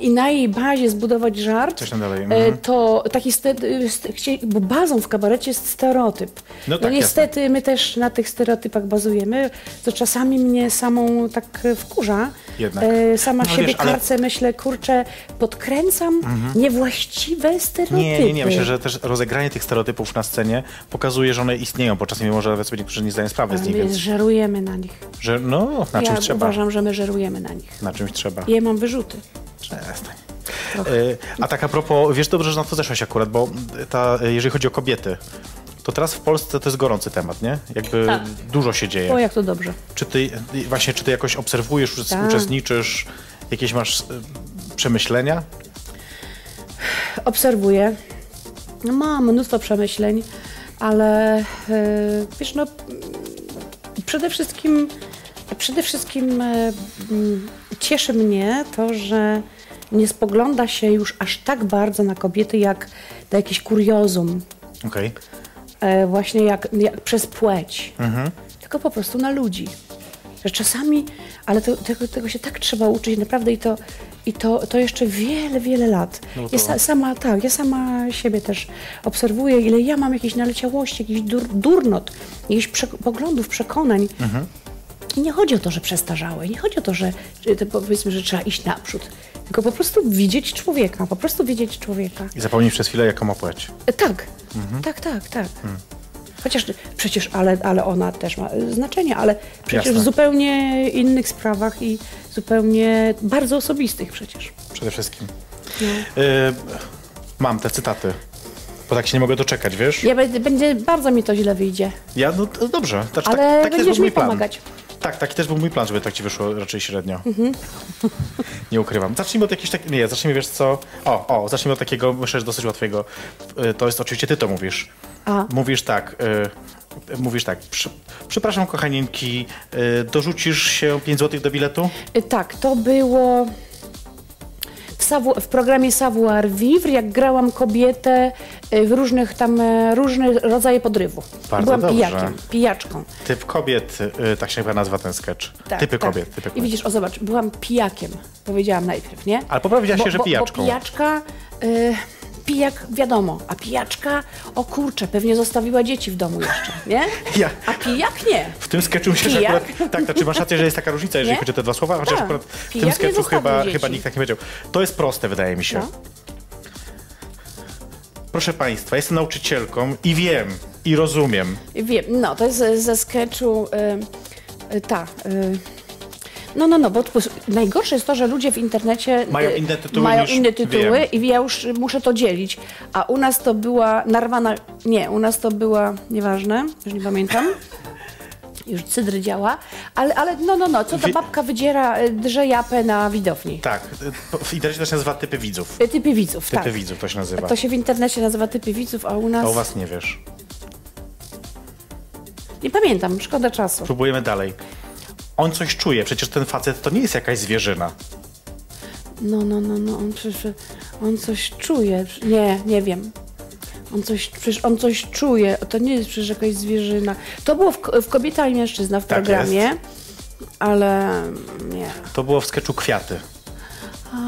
C: i na jej bazie zbudować żart,
B: Coś tam dalej,
C: e,
B: mhm.
C: to taki ste- y, ste- chcie- bo bazą w kabarecie jest stereotyp.
B: No tak,
C: niestety my też na tych stereotypach bazujemy, co czasami mnie samą tak e, wkurza.
B: Jednak.
C: E, sama
B: No
C: siebie
B: wiesz, ale- Mhm.
C: karcę, myślę, kurczę, podkręcam niewłaściwe stereotypy.
B: Nie, nie, nie. Myślę, że też rozegranie tych stereotypów na scenie pokazuje, że one istnieją, bo czasami może nawet sobie niektórzy nie zdają sprawy
C: A
B: z nich,
C: my
B: więc
C: żerujemy na nich.
B: że no, na czymś
C: ja
B: trzeba.
C: uważam, że my żerujemy na nich.
B: Na czymś trzeba.
C: Ja mam wyrzuty.
B: Przestań. Y, A tak a propos, wiesz dobrze, że na to zeszłaś akurat, bo ta, jeżeli chodzi o kobiety, to teraz w Polsce to jest gorący temat, nie? Jakby
C: Tak.
B: dużo się dzieje.
C: O, jak to dobrze.
B: Czy ty y, właśnie, czy ty jakoś obserwujesz, uczest-
C: Tak.
B: uczestniczysz, jakieś masz y, przemyślenia?
C: obserwuję. No, mam mnóstwo przemyśleń, ale yy, wiesz, no mm, przede wszystkim, przede wszystkim e, mm, cieszy mnie to, że nie spogląda się już aż tak bardzo na kobiety jak na jakieś kuriozum,
B: Okej.
C: e, właśnie jak, jak przez płeć,
B: Mhm.
C: tylko po prostu na ludzi. Że czasami, ale to, tego, tego się tak trzeba uczyć naprawdę i to, i to, to jeszcze wiele, wiele lat.
B: No to-
C: Ja sa, sama, tak, ja sama siebie też obserwuję, ile ja mam jakiejś naleciałości, jakichś dur, durnot, jakichś prze, poglądów, przekonań.
B: Mhm.
C: I nie chodzi o to, że przestarzałe, nie chodzi o to, że że to powiedzmy, że trzeba iść naprzód, tylko po prostu widzieć człowieka, po prostu widzieć człowieka.
B: I zapomnij przez chwilę, jaką ma płeć.
C: E, Tak, tak, tak, tak. Chociaż przecież, ale, ale ona też ma e, znaczenie, ale przecież
B: Jasne.
C: w zupełnie innych sprawach i zupełnie bardzo osobistych przecież.
B: Przede wszystkim. Y, mam te cytaty, bo tak się nie mogę doczekać, wiesz?
C: Ja będę, będzie, bardzo mi to źle wyjdzie,
B: Ja, no to dobrze. Znaczy,
C: ale
B: tak, taki też
C: będziesz
B: był mój
C: mi
B: plan.
C: pomagać. Mhm.
B: Tak, taki też był mój plan, żeby tak ci wyszło raczej średnio. Nie ukrywam. Zacznijmy od jakiegoś tak. Nie, zacznijmy, wiesz co? O, o, zacznijmy od takiego, myślę, że dosyć łatwego. Y, To jest oczywiście ty to mówisz.
C: A.
B: Mówisz tak, y, mówisz tak, przy, przepraszam kochanieńki, y, dorzucisz się 5 zł do biletu?
C: E, Tak, to było w, savu, w programie Savoir Vivre, jak grałam kobietę e, w różnych tam, e, różne rodzaje podrywu.
B: Bardzo
C: Byłam
B: dobrze.
C: pijakiem, pijaczką.
B: Typ kobiet, y, tak się chyba nazywa ten sketch.
C: Tak,
B: typy
C: tak.
B: kobiet, typy
C: I
B: kobiet.
C: widzisz, o zobacz, byłam pijakiem, powiedziałam najpierw, nie?
B: Ale poprawiła się,
C: Bo-
B: że
C: bo,
B: pijaczką.
C: Bo pijaczka, y, pijak wiadomo, a pijaczka, o kurczę, pewnie zostawiła dzieci w domu jeszcze, nie?
B: Ja-
C: A pijak nie.
B: W tym sketchu myślę, że
C: Pijak?
B: akurat, tak, znaczy masz rację, że jest taka różnica, jeżeli
C: Nie?
B: chodzi o te dwa słowa, chociaż
C: Tak.
B: akurat w
C: Pijak
B: tym
C: nie
B: sketchu
C: zostawił
B: chyba,
C: dzieci.
B: chyba nikt tak nie powiedział. To jest proste, wydaje mi się.
C: No.
B: Proszę Państwa, jestem nauczycielką i wiem, i rozumiem.
C: Wiem, no to jest ze- ze sketchu y, y, ta. Y, no, no, no, bo tu- najgorsze jest to, że ludzie w internecie
B: Mają
C: y,
B: inne tytuły
C: mają
B: niż
C: inne tytuły
B: wiem.
C: i ja już muszę to dzielić. A u nas to była narwana. Nie, u nas to była nieważne, już nie pamiętam. Już cydry działa, ale, ale no, no, no, co ta
B: Wi-
C: babka wydziera y, drze japę na widowni?
B: Tak, y, w internecie to się nazywa typy widzów.
C: Y, Typy widzów,
B: Typy
C: tak.
B: widzów to się nazywa.
C: To się w internecie nazywa typy widzów, a u nas.
B: A u Was nie wiesz.
C: Nie pamiętam, szkoda czasu.
B: Próbujemy dalej. On coś czuje, przecież ten facet to nie jest jakaś zwierzyna.
C: No, no, no, no, on przecież, on coś czuje. Nie, nie wiem. On coś, przecież on coś czuje. To nie jest przecież jakaś zwierzyna. To było w, w Kobieta i Mężczyzna w
B: Tak
C: programie, ale nie.
B: To było w sketchu Kwiaty.
C: A,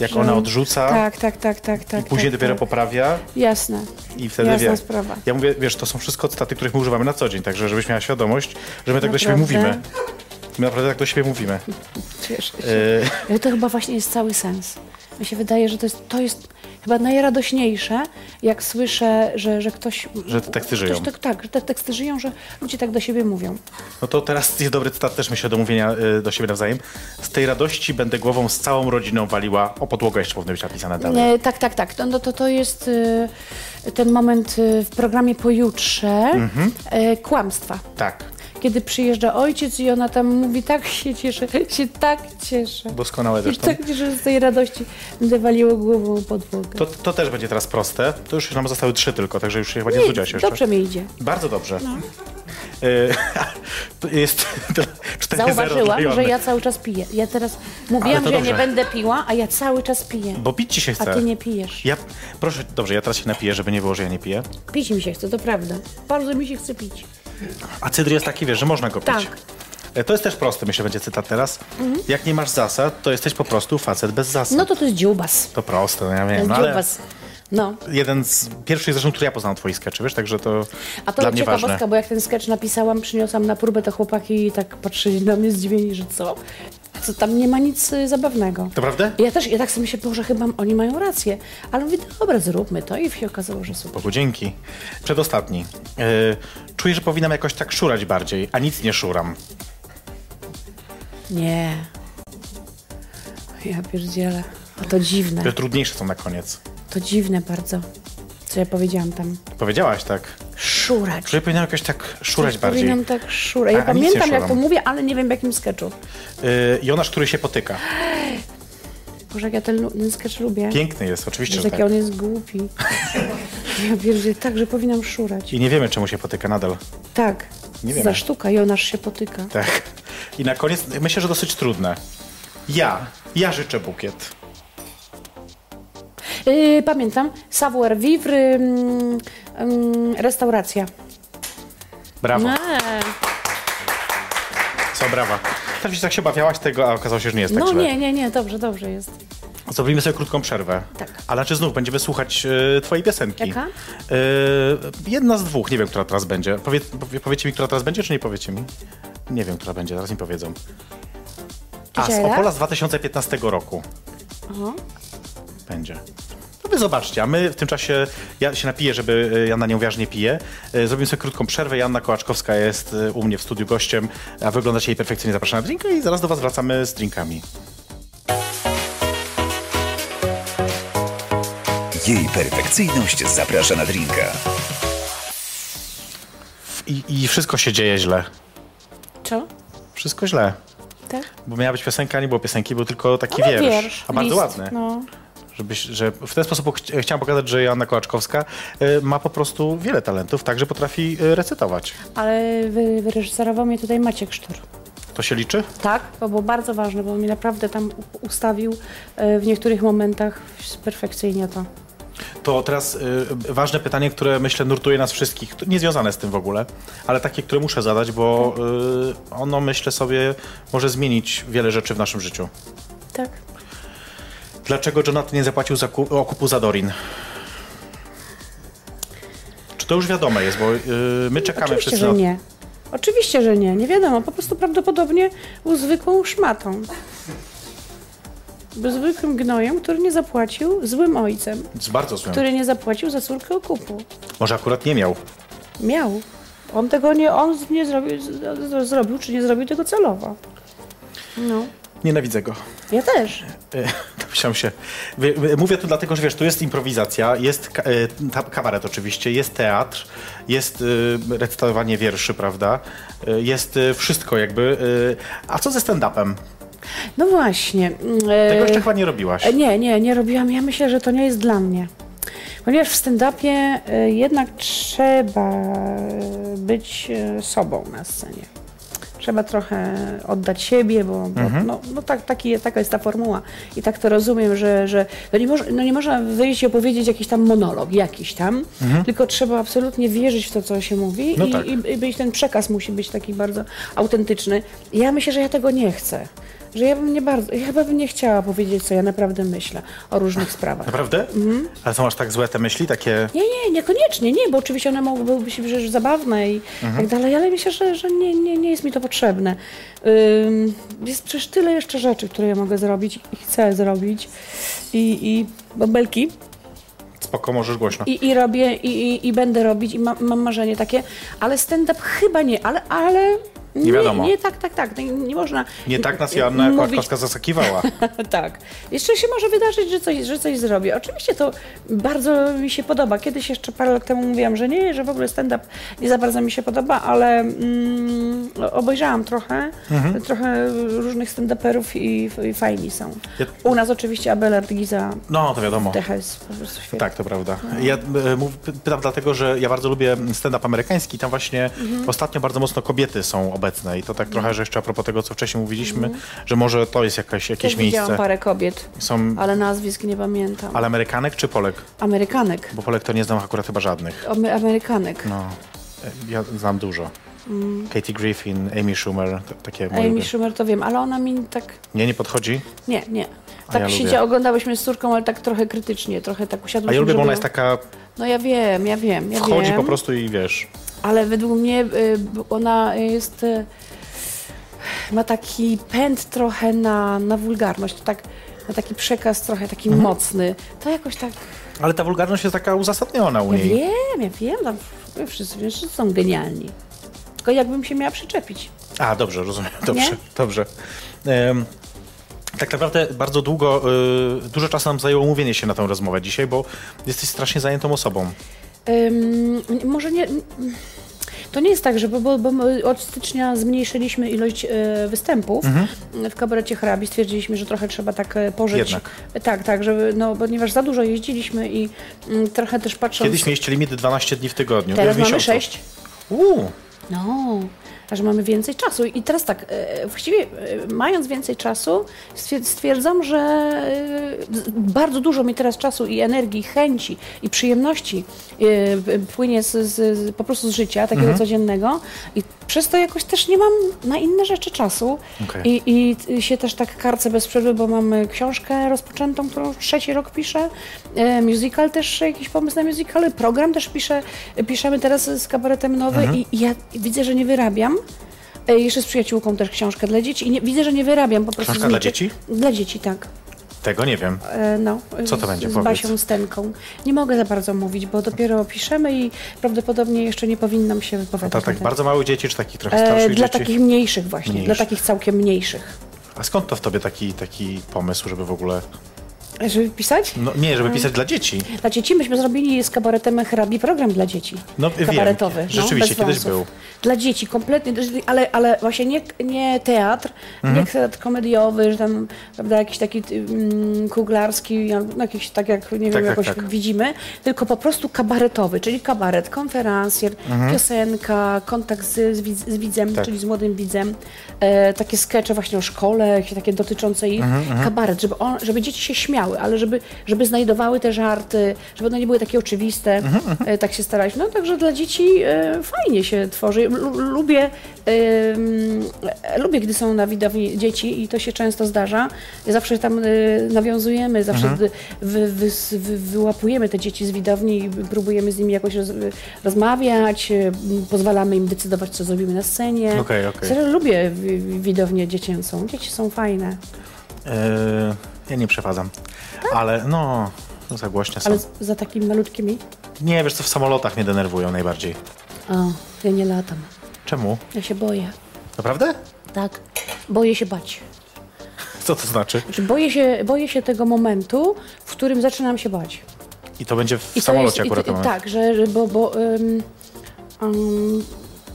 B: Jak ona odrzuca
C: Tak, tak, tak, tak, tak.
B: i później
C: tak,
B: dopiero
C: tak.
B: poprawia
C: Jasne.
B: i wtedy
C: Jasna
B: wie.
C: sprawa.
B: Ja mówię, wiesz, to są wszystko cytaty, których my używamy na co dzień, także żebyś miała świadomość, że my tak do siebie
C: Naprawdę?
B: mówimy. My naprawdę tak do siebie mówimy.
C: Cieszę się.
B: Y,
C: Ale to chyba właśnie jest cały sens. Mi się wydaje, że to jest, to jest chyba najradośniejsze, jak słyszę, że, że ktoś...
B: Że te teksty
C: ktoś
B: żyją.
C: Tak, tak, że te teksty żyją, że ludzie tak do siebie mówią.
B: No to teraz jest dobry cytat też myślę do mówienia y, do siebie nawzajem. Z tej radości będę głową z całą rodziną waliła o podłogę, jeszcze powinno być napisane dalej.
C: E, tak, tak, tak. No, no to to jest y, ten moment y, w programie Pojutrze
B: Mhm.
C: e, kłamstwa.
B: Tak,
C: Kiedy przyjeżdża ojciec i ona tam mówi, tak się cieszę, się tak cieszę.
B: doskonałe
C: Się
B: zresztą.
C: tak cieszę, że z tej radości będę waliło głową o podłogę.
B: To, to też będzie teraz proste. To już nam zostały trzy tylko, także już się chyba nie znudziłaś jeszcze.
C: dobrze No. mi idzie.
B: Bardzo dobrze. Y, to jest to 4-0 dla
C: Zauważyłam, że
B: Joanny.
C: ja cały czas piję. Ja teraz
B: Ale
C: mówiłam,
B: to
C: że ja nie
B: dobrze.
C: będę piła, a ja cały czas piję.
B: Bo pić ci się
C: A
B: chce.
C: ty nie pijesz.
B: Ja, proszę, dobrze, ja teraz się napiję, żeby nie było, że ja nie piję.
C: Pić mi się chce, to prawda. Bardzo mi się chce pić.
B: A cydr jest taki, wiesz, że można go pić.
C: Tak. Mhm.
B: E, To jest też proste, myślę, będzie cytat teraz. Jak nie masz zasad, to jesteś po prostu facet bez zasad.
C: No to to jest dziubas.
B: To proste, no ja
C: To
B: wiem,
C: jest
B: no ale
C: dziubas. No.
B: jeden z pierwszych zresztą, który ja poznałem twoich skeczy, wiesz, także to,
C: A to
B: dla mnie
C: ciekawostka,
B: ważne.
C: bo jak ten sketch napisałam, przyniosłam na próbę, to chłopaki tak patrzyli na mnie zdziwieni, że co? Co tam nie ma nic y, zabawnego.
B: To prawda?
C: Ja też, ja tak sobie myślę, Boże, chyba oni mają rację. Ale mówię, dobra, zróbmy to i się okazało, że super.
B: Bogu dzięki. Przedostatni. E, czuję, że powinnam jakoś tak szurać bardziej, a nic nie szuram.
C: Nie. Ja pierdzielę. A to dziwne.
B: Te trudniejsze są na koniec.
C: To dziwne bardzo, co ja powiedziałam tam.
B: Powiedziałaś tak.
C: Szurać.
B: Czuję, że powinnam jakoś tak szurać
C: Coś
B: bardziej.
C: Powinnam tak szurać.
B: A-
C: Ja
B: a nic nie
C: pamiętam, jak
B: szuram.
C: to mówię, ale nie wiem w jakim sketchu.
B: E, Jonasz, który się potyka.
C: Boże, jak ja ten, lu- ten sketch lubię.
B: Piękny jest, oczywiście,
C: Że
B: że
C: jaki
B: tak.
C: on jest głupi. ja pierdzielę, tak, że powinnam szurać.
B: I nie wiemy, czemu się potyka nadal.
C: Tak.
B: Nie wiemy.
C: Za sztuka, Jonasz się potyka.
B: Tak. I na koniec, myślę, że dosyć trudne. Ja, ja życzę bukiet.
C: Yy, pamiętam, Savoir Vivre, mm, mm, restauracja.
B: Brawo. Tak
C: Eee.
B: Co, brawa. Tak się, tak się bawiałaś tego, a okazało się, że nie jest tak
C: No
B: źle.
C: nie, nie, nie, dobrze, dobrze jest.
B: Zrobimy sobie krótką przerwę.
C: Tak.
B: Ale czy znów będziemy słuchać e, twojej piosenki?
C: Jaka?
B: E, jedna z dwóch, nie wiem, która teraz będzie. Powie, powie, powiecie mi, która teraz będzie, czy nie powiecie mi? Nie wiem, która będzie, zaraz mi powiedzą. A, z
C: Dzisiaj, tak?
B: Opola z 2015 roku.
C: Aha.
B: Będzie. No wy zobaczcie, a my w tym czasie, ja się napiję, żeby e, Jana nie uważnie pije. E, Zrobimy sobie krótką przerwę. Janna Kołaczkowska jest e, u mnie w studiu gościem, a wyglądacie jej perfekcyjnie. Zapraszam na drinka i zaraz do was wracamy z drinkami.
A: Jej perfekcyjność zaprasza na drinka.
B: I, I wszystko się dzieje źle.
C: Co?
B: Wszystko źle.
C: Tak?
B: Bo miała być piosenka, nie było piosenki, był tylko taki
C: No,
B: wiersz, A bardzo
C: list,
B: ładny.
C: No.
B: Żebyś, że w ten sposób chci- chciałam pokazać, że Joanna Kołaczkowska e, ma po prostu wiele talentów, także potrafi e, recytować.
C: Ale wy, wyreżyserował mnie tutaj Maciek Sztur.
B: To się liczy?
C: Tak, to było bardzo ważne, bo on mi naprawdę tam u- ustawił e, w niektórych momentach perfekcyjnie to.
B: To teraz y, ważne pytanie, które myślę nurtuje nas wszystkich, to nie związane z tym w ogóle, ale takie, które muszę zadać, bo y, ono myślę sobie może zmienić wiele rzeczy w naszym życiu.
C: Tak.
B: Dlaczego Jonathan nie zapłacił zaku- okupu za Dorin? Czy to już wiadome jest, bo y, my czekamy
C: Oczywiście,
B: wszyscy
C: że
B: na
C: nie. Oczywiście, że nie. Nie wiadomo, po prostu prawdopodobnie był zwykłą szmatą. Był zwykłym gnojem, który nie zapłacił, złym ojcem,
B: z bardzo złym.
C: który nie zapłacił za córkę okupu.
B: Może akurat nie miał.
C: Miał. On tego nie, on z- nie zrobił, z- z- zrobił, czy nie zrobił tego celowo. No.
B: Nienawidzę go.
C: Ja też.
B: E, Domyślam się. Wy- wy- Mówię tu dlatego, że wiesz, tu jest improwizacja, jest ka- e, ta- kabaret oczywiście, jest teatr, jest e, recytowanie wierszy, prawda? E, Jest e, wszystko jakby. e, A co ze stand-upem?
C: No właśnie. mm,
B: Tego
C: e,
B: jeszcze chyba nie robiłaś.
C: E, Nie, nie, nie robiłam. Ja myślę, że to nie jest dla mnie. Ponieważ w stand-upie e, jednak trzeba e, być e, sobą na scenie. Trzeba trochę oddać siebie, bo, bo
B: Mhm.
C: no, no tak, taki, taka jest ta formuła. I tak to rozumiem, że, że no nie, moż, no nie można wyjść i opowiedzieć jakiś tam monolog, jakiś tam, tylko trzeba absolutnie wierzyć w to, co się mówi
B: Mhm. No
C: i,
B: tak.
C: i i być ten przekaz musi być taki bardzo autentyczny. Ja myślę, że ja tego nie chcę. Że ja bym nie bardzo, ja chyba bym nie chciała powiedzieć, co ja naprawdę myślę o różnych sprawach.
B: Naprawdę?
C: Mhm.
B: Ale są aż tak złe te myśli, takie.
C: Nie, nie, niekoniecznie, nie, bo oczywiście one mogłyby być przecież zabawne i tak dalej, ale myślę, że, że nie, nie, nie jest mi to potrzebne. Ym, jest przecież tyle jeszcze rzeczy, które ja mogę zrobić i chcę zrobić. I, i bąbelki.
B: Spoko, możesz głośno.
C: I, i robię, i, i, i będę robić, i mam- mam marzenie takie, ale stand-up chyba nie, ale, ale nie,
B: wiadomo.
C: Nie, tak, tak, tak, nie, nie można.
B: Nie tak nas
C: y, y,
B: Joanna
C: mówić-
B: Kołaczkowska zasakiwała.
C: tak. Jeszcze się może wydarzyć, że coś, że coś zrobię. Oczywiście to bardzo mi się podoba. Kiedyś jeszcze parę lat temu mówiłam, że nie, że w ogóle stand-up nie za bardzo mi się podoba, ale mm, obejrzałam trochę,
B: Mhm.
C: trochę różnych stand-uperów i, i fajni są.
B: Ja-
C: U nas oczywiście Abelard Giza
B: No, to wiadomo.
C: TH jest po prostu świetny.
B: Tak, to prawda. Ja e, mów, py- pytam dlatego, że ja bardzo lubię stand-up amerykański. Tam właśnie
C: Mhm.
B: ostatnio bardzo mocno kobiety są obecne i to tak trochę, że jeszcze a propos tego, co wcześniej mówiliśmy, że może to jest jakaś, jakieś
C: Też
B: miejsce.
C: Mhm. widziałam parę kobiet,
B: Są
C: ale nazwisk nie pamiętam.
B: ale Amerykanek czy Polek?
C: Amerykanek.
B: Bo Polek to nie znam akurat chyba żadnych.
C: Ome- Amerykanek.
B: No, e, ja znam dużo. Katie Griffin, Amy Schumer, t- takie moje.
C: Mm. Amy
B: lubię.
C: Schumer to wiem, ale ona mi tak
B: Nie, nie podchodzi.
C: Nie, nie.
B: A
C: Tak
B: ja
C: siedział,
B: lubię.
C: oglądałyśmy z córką, ale tak trochę krytycznie, trochę tak usiadłyśmy.
B: A ja lubię, bo
C: żeby-
B: ona jest taka,
C: No ja wiem, ja wiem, ja
B: wchodzi
C: wiem.
B: po prostu i wiesz.
C: Ale według mnie y, b- ona jest... Y, ma taki pęd trochę na, na wulgarność, tak, ma taki przekaz trochę taki
B: Mhm.
C: mocny. To jakoś tak...
B: Ale ta wulgarność jest taka uzasadniona u
C: Ja
B: niej.
C: wiem, ja wiem, tam wy wszyscy, wszyscy są genialni. Tylko jakbym się miała przyczepić.
B: A, dobrze, rozumiem. Dobrze,
C: Nie?
B: dobrze. Em, tak naprawdę bardzo długo, y, dużo czasu nam zajęło mówienie się na tę rozmowę dzisiaj, bo jesteś strasznie zajętą osobą.
C: Ym, może nie. To nie jest tak, że bo, bo, bo my od stycznia zmniejszyliśmy ilość e, występów
B: Mhm.
C: w kabarecie hrabi. Stwierdziliśmy, że trochę trzeba tak e, pożyć.
B: Jednak.
C: Tak, tak, żeby, no, ponieważ za dużo jeździliśmy i mm, trochę też patrząc.
B: Kiedyś mieliście limit 12 dni w tygodniu.
C: teraz
B: w miesiącu.
C: mamy sześć.
B: Uuu,
C: No, a że mamy więcej czasu. I teraz tak, e, właściwie e, mając więcej czasu, stwier- stwierdzam, że e, z- bardzo dużo mi teraz czasu i energii, chęci i przyjemności e, p- płynie z, z, z, po prostu z życia takiego codziennego. I przez to jakoś też nie mam na inne rzeczy czasu.
B: Okej.
C: I, i t- się też tak karcę bez przerwy, bo mam e, książkę rozpoczętą, którą już trzeci rok piszę. E, musical też, e, jakiś pomysł na musicale. Program też piszę. E, Piszemy teraz z kabaretem nowy
B: Mhm.
C: i, i ja widzę, że nie wyrabiam. E, jeszcze z przyjaciółką też książkę dla dzieci. I nie, widzę, że nie wyrabiam po prostu.
B: Książka
C: z
B: dla
C: niczy-
B: dzieci?
C: Dla dzieci, tak.
B: tego nie wiem.
C: E, No,
B: Co to
C: z-
B: będzie?
C: Z
B: Powiedz.
C: Basią Stenką. Nie mogę za bardzo mówić, bo dopiero piszemy i prawdopodobnie jeszcze nie powinnam się wypowiadać.
B: Ta,
C: na
B: tak
C: ten-
B: bardzo małych dzieci, czy takich trochę
C: e,
B: starszych
C: Dla
B: dzieci?
C: takich mniejszych właśnie, dla
B: Mniejszych.
C: takich całkiem mniejszych.
B: A skąd to w tobie taki, taki pomysł, żeby w ogóle...
C: E, Żeby pisać?
B: No nie, żeby pisać dla dzieci.
C: Dla dzieci myśmy zrobili z kabaretem hrabi program dla dzieci.
B: No, wiem.
C: kabaretowy.
B: Rzeczywiście,
C: bez
B: kiedyś
C: wąsów.
B: był.
C: Dla dzieci, kompletnie, ale, ale właśnie nie, nie teatr,
B: Mhm.
C: nie teatr komediowy, że tam prawda, jakiś taki mm, kuglarski, albo, no, jakiś tak jak nie wiem,
B: tak,
C: jakoś
B: tak.
C: widzimy, tylko po prostu kabaretowy, czyli kabaret, konferencjer, piosenka, kontakt z, z, widz, z widzem,
B: Mhm. Tak.
C: czyli z młodym widzem, e, takie skecze właśnie o szkole, jakieś takie dotyczące ich,
B: Mhm,
C: kabaret, żeby, on, żeby dzieci się śmiały, ale żeby, żeby znajdowały te żarty, żeby one nie były takie oczywiste,
B: Mhm,
C: e, tak się staraliśmy. No także dla dzieci e, fajnie się tworzy. Lu- Lubię, em, e, lubię, gdy są na widowni dzieci i to się często zdarza. Zawsze tam e, nawiązujemy, zawsze
B: Mhm.
C: d- wy, wy, wy, wyłapujemy te dzieci z widowni i próbujemy z nimi jakoś roz, rozmawiać, e, m, pozwalamy im decydować, co zrobimy na scenie.
B: Okej, okej.
C: Serio, Lubię wi- wi- widownię dziecięcą. Dzieci są fajne.
B: E, ja nie przewadzam. Ale no, za głośne są.
C: Tak? Ale z- za takimi malutkimi?
B: Nie, wiesz co, w samolotach mnie denerwują najbardziej.
C: O, ja nie latam.
B: Czemu?
C: Ja się boję.
B: Naprawdę?
C: Tak. Boję się bać.
B: Co to znaczy?
C: Znaczy, boję, się, boję się tego momentu, w którym zaczynam się bać.
B: I to będzie w
C: I to
B: samolocie
C: i
B: akurat.
C: to- i
B: moment.
C: Tak, że, że bo, bo ym, ym,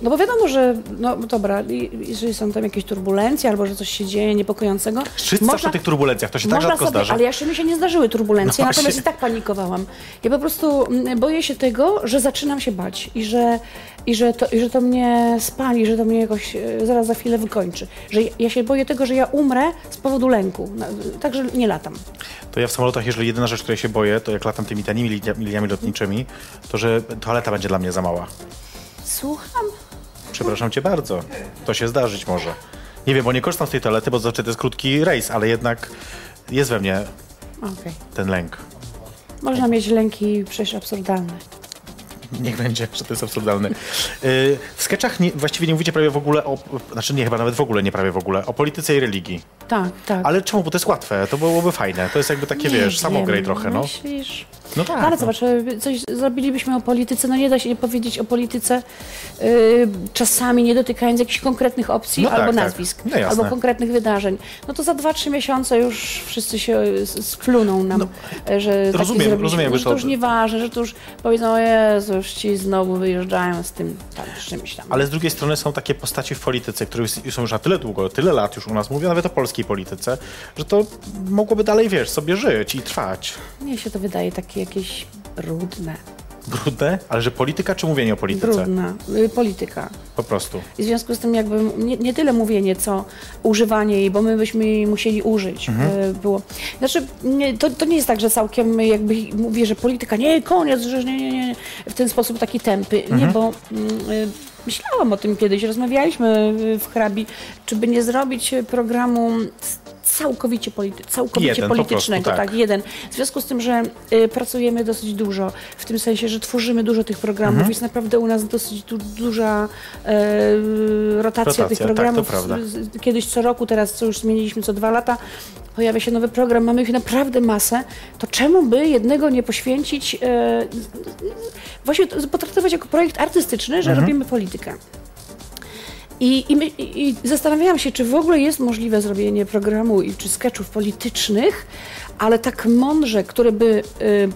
C: no bo wiadomo, że no dobra, i- jeżeli są tam jakieś turbulencje albo że coś się dzieje niepokojącego.
B: Szczyt zawsze o tych turbulencjach, to się tak
C: można
B: rzadko
C: sobie,
B: zdarza.
C: ale jeszcze mi się nie zdarzyły turbulencje,
B: No
C: natomiast
B: właśnie.
C: i tak panikowałam. Ja po prostu mm, boję się tego, że zaczynam się bać i że, i że, to, i że to mnie spali, że to mnie jakoś e, zaraz za chwilę wykończy. Że ja- ja się boję tego, że ja umrę z powodu lęku, No, także nie latam.
B: To ja w samolotach, jeżeli jedyna rzecz, której się boję, to jak latam tymi tanimi linia- liniami lotniczymi, to że toaleta będzie dla mnie za mała.
C: Słucham.
B: Przepraszam cię bardzo. To się zdarzyć może. Nie wiem, bo nie korzystam z tej toalety, bo znaczy to jest krótki rejs, ale jednak jest we mnie
C: Okej.
B: ten lęk.
C: Można mieć lęki przecież absurdalne.
B: Niech będzie, że to jest absurdalne. Yy, W sketchach nie, właściwie nie mówicie prawie w ogóle o... Znaczy nie, chyba nawet w ogóle nie prawie w ogóle. O polityce i religii.
C: Tak, tak.
B: Ale czemu? Bo to jest łatwe. To byłoby fajne. To jest jakby takie, wiesz, samograj trochę, no.
C: Myślisz?
B: No tak.
C: Ale
B: no.
C: zobacz, e, coś zrobilibyśmy o polityce, no nie da się nie powiedzieć o polityce y, czasami nie dotykając jakichś konkretnych opcji
B: No tak,
C: albo
B: tak.
C: nazwisk,
B: No jasne.
C: albo konkretnych wydarzeń. No to za 2-3 miesiące już wszyscy się e, s- skluną nam, e, że taki
B: No, rozumiem,
C: zrobiliśmy,
B: rozumiem,
C: że
B: że
C: to
B: to-
C: już nieważne, że to już powiedzą, o Jezu, już ci znowu wyjeżdżają z tym tam czymś tam.
B: Ale z drugiej strony są takie postaci w polityce, które już są już na tyle długo, tyle lat już u nas, mówię nawet o polskiej polityce, że to mogłoby dalej, wiesz, sobie żyć i trwać.
C: Mnie się to wydaje takie jakieś brudne,
B: Brudne? Ale że polityka czy mówienie o polityce?
C: brudna y, polityka.
B: Po prostu.
C: I w związku z tym jakby nie, nie tyle mówienie, co używanie jej, bo my byśmy jej musieli użyć.
B: Mhm.
C: e, Było. Znaczy, nie, to, to nie jest tak, że całkiem jakby
B: Mhm.
C: mówię, że polityka, nie, koniec, że nie, nie, nie, w ten sposób taki tępy. Nie, bo mm, y, Myślałam o tym kiedyś, rozmawialiśmy w hrabi, czy by nie zrobić programu całkowicie, polity, całkowicie
B: Jeden po prostu,
C: politycznego,
B: tak.
C: tak, jeden. W związku z tym, że y, pracujemy dosyć dużo, w tym sensie, że tworzymy dużo tych programów,
B: Mhm.
C: jest naprawdę u nas dosyć du- duża y, rotacja,
B: Rotacja,
C: tych
B: tak, to
C: programów.
B: prawda.
C: Z- Kiedyś co roku, teraz co już zmieniliśmy co dwa lata, pojawia się nowy program, mamy ich naprawdę masę, to czemu by jednego nie poświęcić, e, właśnie to potraktować jako projekt artystyczny,
B: Mhm.
C: że robimy politykę. I, i, my, i i zastanawiałam się, czy w ogóle jest możliwe zrobienie programu i czy sketchów politycznych, ale tak mądrze, które by y,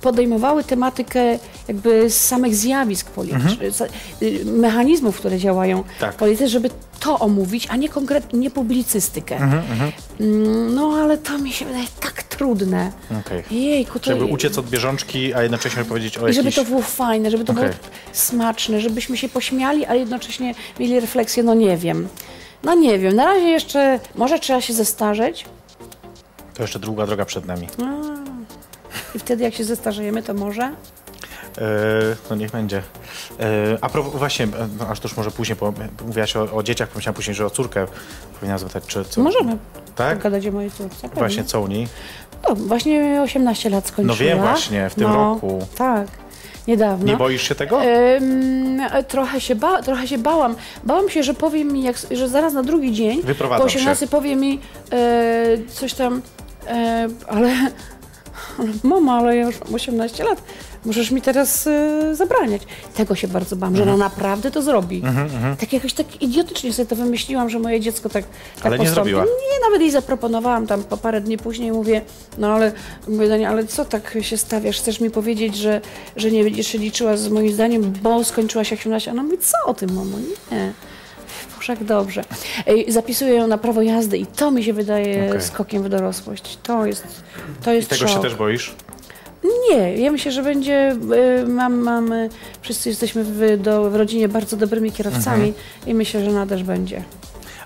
C: podejmowały tematykę jakby z samych zjawisk politycznych, y, mechanizmów, które działają
B: Mhm. Tak.
C: politycznie, żeby to omówić, a nie konkretnie nie publicystykę.
B: Mhm,
C: Mm, No ale to mi się wydaje tak trudne.
B: Okej.
C: Jejku, to
B: Żeby uciec od bieżączki, a jednocześnie powiedzieć o
C: Znaczy- i żeby
B: jakiejś...
C: to było fajne, żeby to
B: Okej.
C: było smaczne, żebyśmy się pośmiali, ale jednocześnie mieli refleksję, no nie wiem. No nie wiem, na razie jeszcze, może trzeba się zestarzeć
B: To jeszcze długa droga przed nami.
C: No. i wtedy jak się zestarzejemy, to może.
B: E, no niech będzie. E, a propos, właśnie, e, no, aż to już może później, bo mówiłaś o, o dzieciach, pomyślałam później, że o córkę powinnam zapytać, czy... Co,
C: Możemy
B: Tak?
C: pogadać o mojej córce. pewnie.
B: Właśnie, co u niej?
C: No, właśnie 18 lat skończyła.
B: No wiem właśnie, w tym roku.
C: Tak, niedawno.
B: Nie boisz się tego?
C: Ym, e, trochę, się ba- trochę się bałam. Bałam się, że powie mi, jak, że zaraz na drugi dzień
B: Wyprowadzam
C: po 18 powie mi e, coś tam, e, ale mama, ale ja już mam 18 lat, możesz mi teraz e, zabraniać. Tego się bardzo bałam, że
B: Mhm.
C: ona naprawdę to zrobi. Tak jakoś tak idiotycznie sobie to wymyśliłam, że moje dziecko tak, tak
B: Ale nie
C: postąpi.
B: zrobiła.
C: Nie, nawet jej zaproponowałam tam po parę dni później, mówię, no ale, mówię do niej, ale co tak się stawiasz? Chcesz mi powiedzieć, że, że nie będziesz się liczyła z moim zdaniem, bo skończyłaś 18? Ona mówi, co o tym, mamo? Nie. Boże, jak dobrze. Ej, Zapisuję ją na prawo jazdy i to mi się wydaje
B: Okej.
C: skokiem w dorosłość. To jest, to jest
B: Tego się
C: szok.
B: też boisz?
C: Nie, ja myślę, że będzie, y, mam, mamy, wszyscy jesteśmy w, do, w rodzinie bardzo dobrymi kierowcami
B: Mhm.
C: i myślę, że ona też będzie.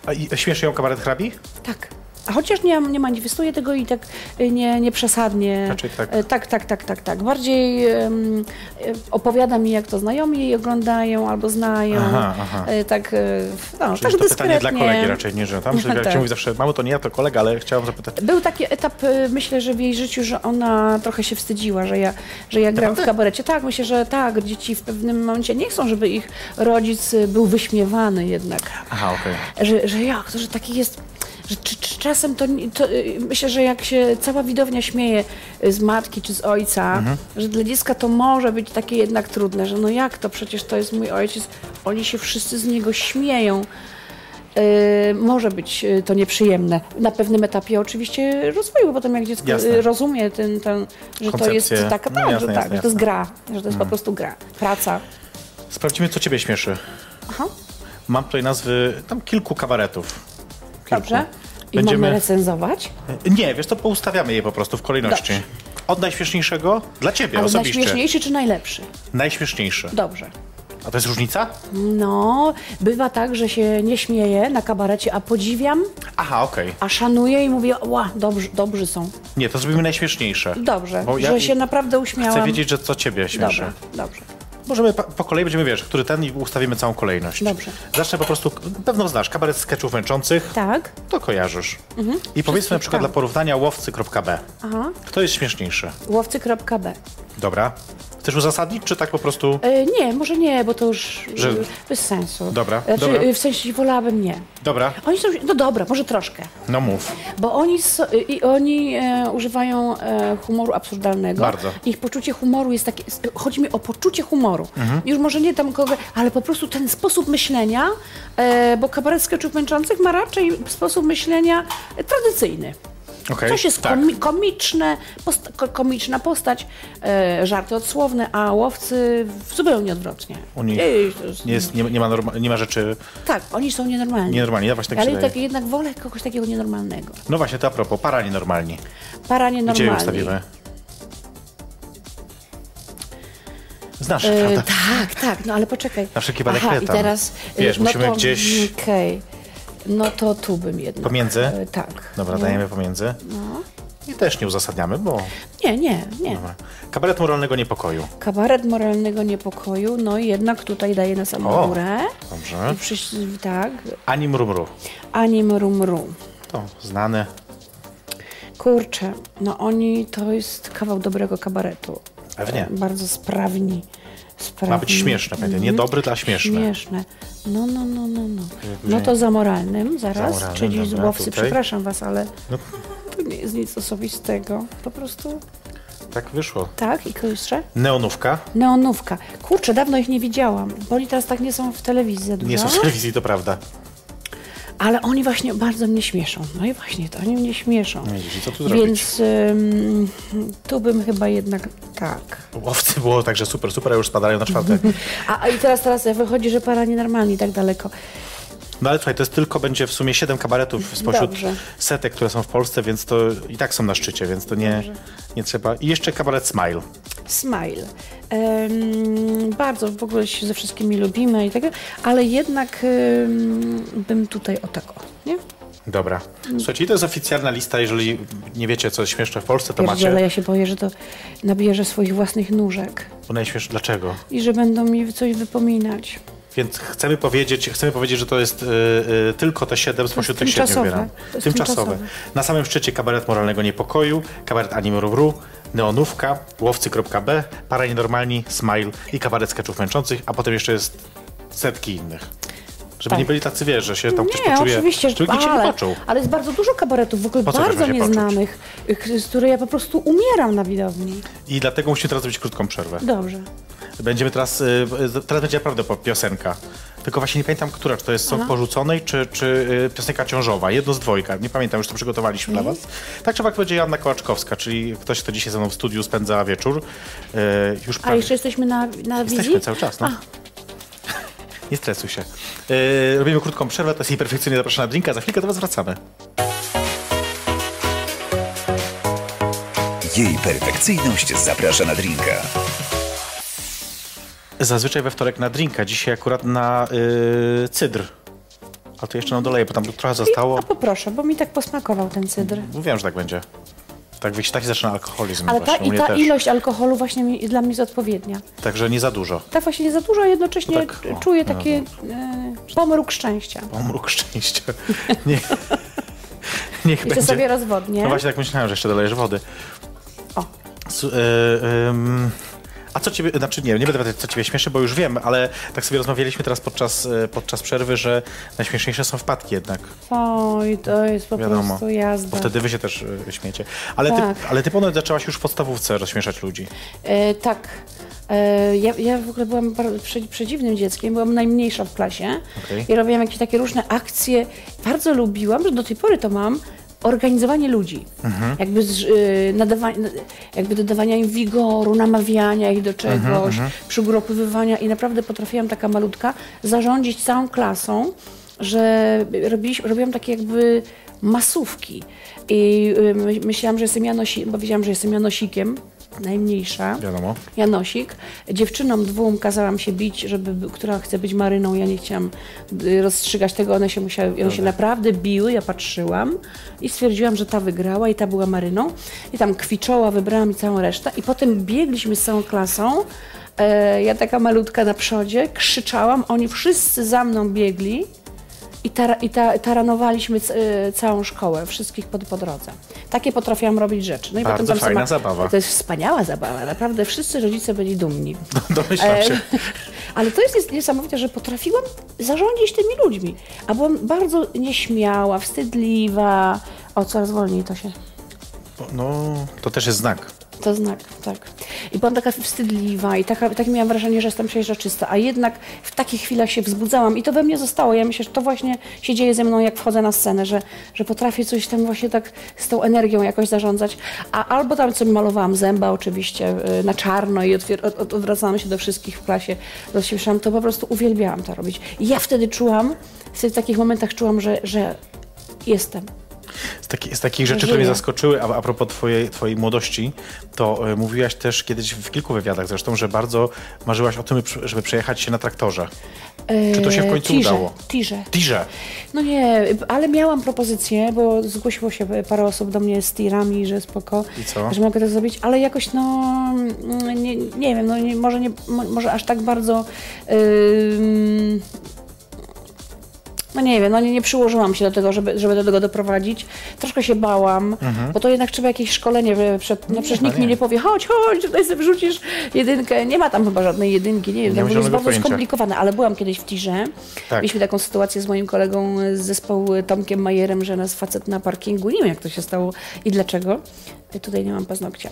B: A i- śmieszy ją kabaret hrabi?
C: Tak. A Chociaż nie, nie manifestuję tego i tak y, nie, nie przesadnie.
B: Raczej tak.
C: E, tak, tak, tak, tak, tak. Bardziej em, e, opowiada mi, jak to znajomi jej oglądają albo znają.
B: Aha, aha.
C: E, tak, e, no,
B: Czyli
C: tak
B: to pytanie dla
C: dyskretnie.
B: kolegi raczej, nie, że tam, że jak
C: Tak.
B: się mówi zawsze, mamo, to nie ja, to kolega, ale chciałam zapytać,
C: Był taki etap, y, myślę, że w jej życiu, że ona trochę się wstydziła, że ja, że ja gram w kabarecie. Tak, myślę, że tak, dzieci w pewnym momencie nie chcą, żeby ich rodzic y, był wyśmiewany jednak.
B: aha, okej.
C: Że, że jak, to, że taki jest... Że czy, czy czasem to, nie- to y, myślę, że jak się cała widownia śmieje y, z matki czy z ojca,
B: Mhm.
C: że dla dziecka to może być takie jednak trudne, że no jak to, przecież to jest mój ojciec, oni się wszyscy z niego śmieją. Y, może być y, to nieprzyjemne. Na pewnym etapie oczywiście rozwoju, bo potem jak dziecko
B: Jasne.
C: y, rozumie ten, ten że to jest
B: Koncepcję.
C: taka,
B: No
C: tak,
B: jasne,
C: że,
B: jasne,
C: tak że to jest
B: jasne. Mhm.
C: gra, że to jest po prostu gra, praca.
B: Sprawdzimy, co ciebie śmieszy.
C: Aha,
B: Mam tutaj nazwy, tam kilku kabaretów. Kilku.
C: dobrze. I
B: Będziemy-
C: mamy recenzować.
B: Nie, wiesz, to poustawiamy je po prostu w kolejności.
C: Dobrze.
B: Od najśmieszniejszego dla ciebie
C: Ale
B: osobiście.
C: najśmieszniejszy czy najlepszy?
B: Najśmieszniejszy.
C: Dobrze.
B: A to jest różnica?
C: No, bywa tak, że się nie śmieję na kabarecie, a podziwiam,
B: Aha, okej.
C: a szanuję i mówię, ła, dobrzy, dobrzy są.
B: Nie, to zrobimy najśmieszniejsze.
C: Dobrze,
B: Bo ja
C: że się naprawdę uśmiałam.
B: chcę wiedzieć, że co ciebie śmieszy.
C: Dobra, dobrze.
B: Możemy po, po kolei będziemy wiesz, który ten i ustawimy całą kolejność.
C: Dobrze.
B: Zacznę po prostu, pewno znasz kabaret sketchów męczących,
C: Tak,
B: to kojarzysz. I powiedzmy na przykład
C: tak.
B: dla porównania łowcy.b.
C: Aha.
B: Kto jest śmieszniejszy?
C: łowcy.b.
B: Dobra. Chcesz uzasadnić, czy tak po prostu?
C: E, nie, może nie, bo to już
B: Że-
C: e, bez sensu.
B: Dobra,
C: Znaczy,
B: dobra.
C: e, W sensie wolałabym nie.
B: Dobra,
C: Oni są, no dobra, może troszkę,
B: no mów.
C: bo oni, so, y, i oni e, używają e, humoru absurdalnego.
B: Bardzo.
C: Ich poczucie humoru jest takie, chodzi mi o poczucie humoru.
B: Mhm.
C: Już może nie tam kogo, ale po prostu ten sposób myślenia, e, bo kabaret skeczów męczących ma raczej sposób myślenia tradycyjny.
B: Okej,
C: Coś jest
B: tak.
C: komi- komiczne, post- ko- komiczna postać, e, żarty odsłowne, a łowcy w- zupełnie odwrotnie.
B: U nich
C: Ej, to jest-
B: Nie, jest, nie, nie, ma, norma, nie ma rzeczy
C: Tak, oni są nienormalni.
B: nienormalnie, ja właśnie tak się
C: Ale tak,
B: tak...
C: jednak wolę kogoś takiego nienormalnego.
B: No właśnie, to a propos, para nienormalni.
C: Para
B: Gdzie je
C: nienormalni.
B: ustawimy? Znasz,
C: E,
B: prawda?
C: tak, tak, no ale poczekaj.
B: Na wszelki wypadek
C: Aha, i
B: pytam.
C: teraz... e,
B: Wiesz,
C: no
B: musimy
C: to,
B: gdzieś-
C: Okej. No to tu bym jednak...
B: Pomiędzy?
C: e, Tak.
B: Dobra,
C: Nie? No.
B: dajemy pomiędzy. I też nie uzasadniamy, bo
C: Nie, nie, nie.
B: kabaret moralnego niepokoju.
C: Kabaret moralnego niepokoju, no i jednak tutaj daje na samą
B: O. Mhm.
C: górę.
B: Dobrze.
C: I Przyś, tak,
B: Ani mrumru.
C: anim rum rum.
B: To znane.
C: Kurczę, no oni to jest kawał dobrego kabaretu.
B: Pewnie.
C: Bardzo sprawni. sprawni.
B: Ma być śmieszne, pewnie. Nie dobry, dla śmieszny.
C: Śmieszne. No, no, no, no, no. No to za moralnym zaraz,
B: Za moralnym,
C: czyli
B: dobra,
C: złowcy,
B: tutaj. No.
C: przepraszam was, ale to nie jest nic osobistego. Po prostu
B: Tak wyszło.
C: tak i jeszcze?
B: Neonówka.
C: Neonówka. Kurczę, dawno ich nie widziałam, bo oni teraz tak nie są w telewizji za dużo.
B: Nie są w telewizji, to prawda.
C: Ale oni właśnie bardzo mnie śmieszą. No i właśnie, to oni mnie śmieszą.
B: Widzisz, No i co tu zrobić?
C: Więc ym, tu bym chyba jednak tak.
B: Łowcy było także super, super, a już spadają na czwarte.
C: A, a i teraz, teraz wychodzi, że para nienormalni tak daleko.
B: No ale słuchaj, to jest tylko będzie w sumie 7 kabaretów spośród
C: Dobrze.
B: setek, które są w Polsce, więc to i tak są na szczycie, więc to nie, nie trzeba. I jeszcze kabaret Smile.
C: Smile. Ym, bardzo w ogóle się ze wszystkimi lubimy i tak, ale jednak ym, bym tutaj o tak o, nie?
B: Dobra. Słuchajcie, i to jest oficjalna lista. Jeżeli nie wiecie, co jest śmieszne w Polsce, to
C: Pierdziele,
B: macie.
C: ja się boję, że to nabierze swoich własnych nóżek
B: Bo najśmiesz... Dlaczego?
C: i że będą mi coś wypominać.
B: Więc chcemy powiedzieć, chcemy powiedzieć, że to jest y, y, tylko te siedem spośród tych siedmiu
C: tymczasowe.
B: wybieramy.
C: To jest
B: Tymczasowe.
C: tymczasowe.
B: Na samym szczycie kabaret moralnego niepokoju, kabaret anime rubru, neonówka, łowcy.b, para nienormalni, smile i kabaret skeczów męczących, a potem jeszcze jest setki innych. Żeby
C: Tak.
B: nie byli tacy, wiesz, że się tam ktoś
C: nie,
B: poczuje,
C: oczywiście, że
B: żeby nikt się nie
C: ale,
B: poczuł.
C: ale jest bardzo dużo kabaretów, w ogóle
B: Po co trzeba
C: bardzo
B: się poczuć?
C: nieznanych, y, z których ja po prostu umieram na widowni.
B: I dlatego musimy teraz zrobić krótką przerwę.
C: Dobrze.
B: Będziemy teraz, y, y, teraz będzie naprawdę po- piosenka. Tylko właśnie nie pamiętam, która, czy to jest
C: No.
B: song porzuconej, czy, czy y, piosenka ciążowa. Jedno z dwojga. Nie pamiętam, już to przygotowaliśmy
C: Mhm.
B: dla was. Tak czy owak będzie Joanna Kołaczkowska, czyli ktoś, kto dzisiaj ze mną w studiu spędza wieczór. Y, już
C: A
B: prawie-
C: jeszcze jesteśmy na, na wizji?
B: Jesteśmy cały czas, no. Nie stresuj się. Y, robimy krótką przerwę, to jest nieperfekcyjnie zapraszana drinka. Za chwilkę do was wracamy.
A: Jej perfekcyjność zaprasza na drinka.
B: Zazwyczaj we wtorek na drinka, dzisiaj akurat na y, cydr. Ale to jeszcze no doleję, bo tam trochę zostało.
C: A poproszę, bo mi tak posmakował ten cydr.
B: Mówiłem, że tak będzie. Tak, wiecie, tak się zaczyna alkoholizm
C: Ale ta,
B: właśnie, u
C: i
B: mnie
C: ta
B: też.
C: ilość alkoholu właśnie mi, dla mnie jest odpowiednia.
B: Także nie za dużo.
C: Tak właśnie nie za dużo, a jednocześnie
B: Tak, o, no.
C: czuję taki e, pomruk szczęścia.
B: Pomruk szczęścia. Nie, niech
C: I to
B: będzie.
C: sobie rozwodnie.
B: No właśnie tak myślałem, że jeszcze dolejesz wody.
C: O.
B: S- y, ym, a co ciebie, znaczy nie, nie będę pytać, co ciebie śmieszy, bo już wiem, ale tak sobie rozmawialiśmy teraz podczas, y, podczas przerwy, że najśmieszniejsze są wpadki jednak,
C: Oj, to jest po
B: wiadomo.
C: prostu jazda.
B: Bo wtedy wy się też y, śmiecie. Ale,
C: Tak.
B: ty, ale ty ponoć zaczęłaś już w podstawówce rozśmieszać ludzi.
C: E, tak. E, ja, ja w ogóle byłam bardzo prze- przedziwnym dzieckiem, byłam najmniejsza w klasie
B: Okej.
C: i robiłam jakieś takie różne akcje. Bardzo lubiłam, że do tej pory to mam, organizowanie ludzi. Jakby, z, y, nadawa- n- jakby dodawania im wigoru, namawiania ich do czegoś, przygrupowywania i naprawdę potrafiłam taka malutka zarządzić całą klasą, że robiliśmy, robiłam takie jakby masówki. I y, my- myślałam, że jestem Janosi, bo wiedziałam, że jestem Janosikiem, najmniejsza.
B: Wiadomo.
C: Janosik. Dziewczynom dwóm kazałam się bić, żeby, która chce być maryną. Ja nie chciałam y, rozstrzygać tego, one się musiały, one się naprawdę biły, ja patrzyłam i stwierdziłam, że ta wygrała i ta była maryną. I tam kwiczoła, wybrałam i całą resztę. I potem biegliśmy z całą klasą. E, ja taka malutka na przodzie, krzyczałam, oni wszyscy za mną biegli. I, tara, i ta, taranowaliśmy c, y, całą szkołę, wszystkich po, po drodze. Takie potrafiłam robić rzeczy. No i
B: Bardzo
C: potem tam
B: fajna
C: sama,
B: zabawa.
C: To jest wspaniała zabawa, naprawdę wszyscy rodzice byli dumni.
B: No, Domyślam się.
C: E, Ale to jest nies- niesamowite, że potrafiłam zarządzić tymi ludźmi. A byłam bardzo nieśmiała, wstydliwa. O, coraz wolniej to się.
B: No, to też jest znak.
C: To znak, tak. I byłam taka wstydliwa i taka, takie miałam wrażenie, że jestem przeźroczysta, a jednak w takich chwilach się wzbudzałam i to we mnie zostało. Ja myślę, że to właśnie się dzieje ze mną, jak wchodzę na scenę, że, że potrafię coś tam właśnie tak z tą energią jakoś zarządzać. A albo tam sobie malowałam zęba oczywiście y, na czarno i otwier- od, od, odwracałam się do wszystkich w klasie, rozśmieszałam, to po prostu uwielbiałam to robić. I ja wtedy czułam, wtedy w takich momentach czułam, że, że jestem.
B: Z taki, z takich rzeczy,
C: Żyje.
B: które mnie zaskoczyły, a, a propos twojej, twojej młodości, to e, mówiłaś też kiedyś w kilku wywiadach zresztą, że bardzo marzyłaś o tym, żeby przejechać się na traktorze. Czy to się w
C: E,
B: końcu
C: tirze,
B: udało?
C: Tirze.
B: Tirze.
C: No nie, ale miałam propozycję, bo zgłosiło się parę osób do mnie z tirami, że spoko,
B: I co?
C: że mogę to zrobić, ale jakoś no mm, nie, nie wiem, no nie, może, nie, mo- może aż tak bardzo ym, no nie wiem, no nie, nie przyłożyłam się do tego, żeby, żeby do tego doprowadzić. Troszkę się bałam, bo to jednak trzeba jakieś szkolenie wy- przed, no przecież
B: chyba
C: nikt
B: Mhm.
C: mi
B: nie.
C: nie powie, chodź, chodź, tutaj sobie wrzucisz jedynkę. Nie ma tam chyba żadnej jedynki, nie wiem,
B: Nie ma
C: to jest
B: zielonego
C: bardzo
B: pojęcia.
C: skomplikowane, ale byłam kiedyś w tirze.
B: Tak.
C: Mieliśmy taką sytuację z moim kolegą z zespołu y, Tomkiem Majerem, że nas facet na parkingu, nie wiem jak to się stało i dlaczego. Ja Tutaj nie mam paznokcia.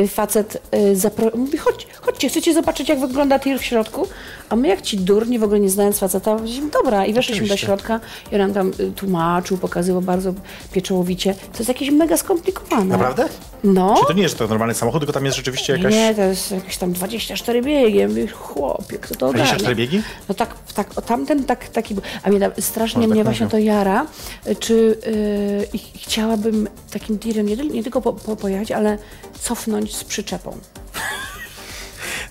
C: Yy, facet yy, zapro- mówi, chodź, chodźcie, chcecie zobaczyć jak wygląda tir w środku? A my jak ci durni, w ogóle nie znając faceta, powiedzieliśmy, dobra i weszliśmy do
B: Oczywiście.
C: środka i on nam tam y, tłumaczył, pokazywał bardzo pieczołowicie. To jest jakieś mega skomplikowane.
B: Naprawdę?
C: No.
B: Czy to nie jest to normalny samochód, tylko tam jest rzeczywiście jakaś...
C: Nie, to jest jakieś tam 24 biegiem. Mówię, Chłopie, kto to ogarnia?
B: 24 biegi?
C: No tak, tak o tamten tak, taki był. A mnie tam, strasznie
B: Może
C: mnie
B: tak
C: właśnie
B: mówią.
C: to jara, czy yy, i chciałabym takim tirem nie, tyl- nie tylko po, po, pojechać, ale cofnąć z przyczepą.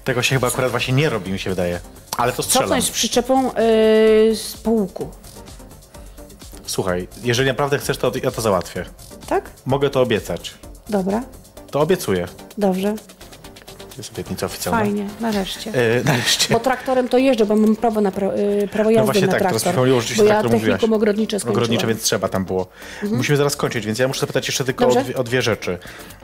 B: Tego się chyba akurat właśnie nie robi, mi się wydaje. Ale to strzelam.
C: Cofnąć z przyczepą yy, z połuku,
B: Słuchaj, jeżeli naprawdę chcesz, to ja to załatwię.
C: tak?
B: Mogę to obiecać.
C: Dobra,
B: To obiecuję.
C: dobrze,
B: To jest obietnica oficjalna.
C: fajnie, nareszcie.
B: E, nareszcie.
C: Bo traktorem to jeżdżę, bo mam prawo, na pra, yy, prawo jazdy
B: No właśnie
C: na
B: tak, teraz
C: traktor.
B: przypomniało, że
C: bo
B: się
C: ja
B: tak mówiłaś.
C: technikum ogrodnicze skończyłam. Mhm.
B: Ogrodnicze, więc trzeba tam było. Musimy zaraz kończyć, więc ja muszę zapytać jeszcze tylko o
C: Dobrze.
B: dwie, o dwie rzeczy.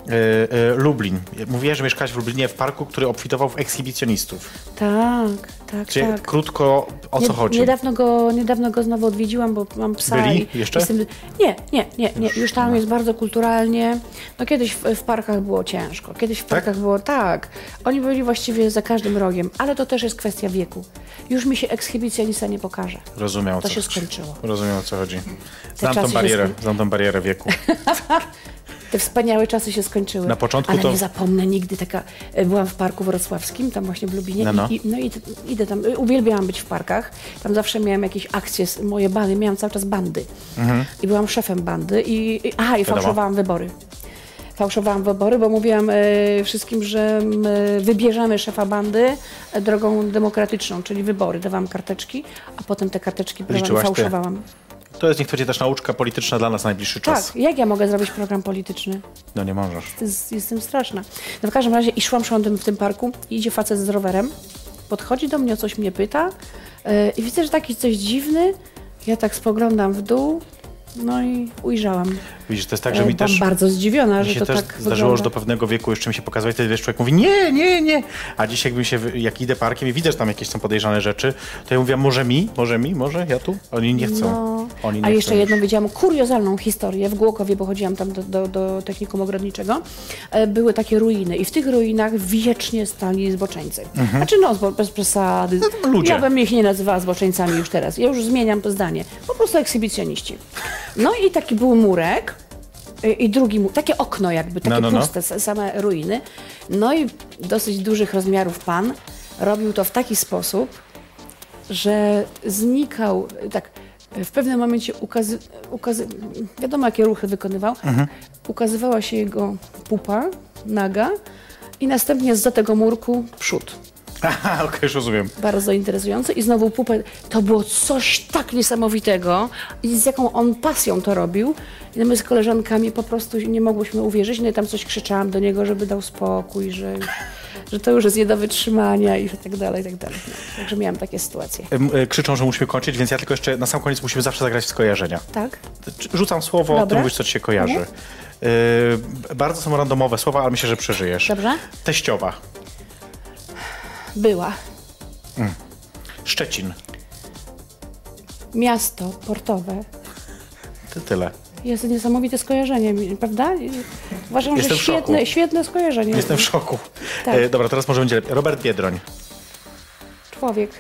B: E, e, Lublin. Mówiłaś, że mieszkałaś w Lublinie w parku, który obfitował w ekshibicjonistów.
C: Tak, tak,
B: Czyli
C: tak.
B: krótko o co
C: Nie-
B: chodzi?
C: Niedawno go, niedawno go znowu odwiedziłam, bo mam psa.
B: Byli
C: i
B: jeszcze?
C: Jestem, nie, nie, nie, nie. Już tam jest bardzo kulturalnie. No kiedyś w, w parkach było ciężko. Kiedyś w parkach było tak. Oni byli właściwie za każdym rogiem, ale to też jest kwestia wieku. Już mi się ekshibicjonista nie pokaże.
B: Rozumiem, o
C: To
B: co
C: się
B: chodzi.
C: skończyło.
B: Rozumiem, o co chodzi. Znam
C: czasy
B: tą
C: się
B: barierę,
C: skoń-
B: znam tą barierę wieku.
C: Te wspaniałe czasy się skończyły.
B: Na początku
C: Ale
B: to-
C: nie zapomnę nigdy taka. e, Byłam w parku wrocławskim, tam właśnie w Lubinie.
B: No, no.
C: I, i, no i t- idę tam. y, Uwielbiałam być w parkach. Tam zawsze miałam jakieś akcje, s- moje bandy, miałam cały czas bandy. I byłam szefem bandy. I, i, aha, i
B: Mhm. Wiadomo.
C: fałszowałam wybory. Fałszowałam wybory, bo mówiłam e, wszystkim, że m, e, wybierzemy szefa bandy e, drogą demokratyczną, czyli wybory. Dawałam karteczki, a potem te karteczki brałam i
B: Liczyłaś ty?
C: fałszowałam.
B: To jest niech będzie też nauczka polityczna dla nas najbliższy czas.
C: Tak, jak ja mogę zrobić program polityczny?
B: No nie możesz.
C: jest, jestem straszna. No w każdym razie i szłam szłam tym, w tym parku, i idzie facet z rowerem, podchodzi do mnie, o coś mnie pyta yy, i widzę, że taki coś dziwny, ja tak spoglądam w dół, no i ujrzałam.
B: Widzisz, to jest tak, że
C: Yy,
B: mi
C: Byłam
B: też...
C: bardzo zdziwiona,
B: Mi
C: że
B: się
C: to
B: też
C: tak
B: zdarzyło,
C: wygląda.
B: że do pewnego wieku jeszcze mi się pokazywać, wtedy wiesz, człowiek mówi nie, nie, nie. A dziś jakbym się, wy- jak idę parkiem i widzę, że tam jakieś są podejrzane rzeczy, to ja mówię, może mi, może mi, może ja tu? Oni nie chcą.
C: No,
B: Oni nie
C: a jeszcze
B: chcą
C: jedną
B: już.
C: wiedziałam kuriozalną historię w Głokowie, bo chodziłam tam do, do, do technikum ogrodniczego. E, Były takie ruiny i w tych ruinach wiecznie stali zboczeńcy. Znaczy no, zbo- bez przesady.
B: to Mhm. No, ludzie.
C: Ja bym ich nie nazywała zboczeńcami już teraz. Ja już zmieniam to zdanie. Po prostu ekshibicjoniści. No i taki był murek. y, I drugi, mu- takie okno jakby, takie
B: No, no, no.
C: puste, s- same ruiny. No i dosyć dużych rozmiarów pan robił to w taki sposób, że znikał, tak, w pewnym momencie ukazy, ukazy, wiadomo jakie ruchy wykonywał,
B: Mhm.
C: ukazywała się jego pupa naga i następnie za tego murku przód.
B: Aha, okej, już rozumiem.
C: Bardzo interesujące i znowu pupę. To było coś tak niesamowitego i z jaką on pasją to robił. I my z koleżankami po prostu nie mogłyśmy uwierzyć, no i tam coś krzyczałam do niego, żeby dał spokój, że, już, że to już jest nie do wytrzymania i że tak dalej, i tak dalej. No, także miałam takie sytuacje.
B: Em, e, Krzyczą, że musimy kończyć, więc ja tylko jeszcze na sam koniec musimy zawsze zagrać w skojarzenia.
C: Tak?
B: Czy- Rzucam słowo, ty
C: Dobra.
B: mówisz, co ci się kojarzy.
C: Mhm.
B: Y, b- bardzo są randomowe słowa, ale myślę, że przeżyjesz.
C: Dobrze.
B: Teściowa.
C: Była.
B: Szczecin.
C: Miasto portowe.
B: To tyle.
C: Jest niesamowite skojarzenie, mi- prawda? I Uważam,
B: Jestem w
C: że
B: szoku.
C: świetne, świetne skojarzenie.
B: Jestem w szoku.
C: Tak.
B: E, dobra, teraz może będzie lepiej. Robert Biedroń.
C: Człowiek.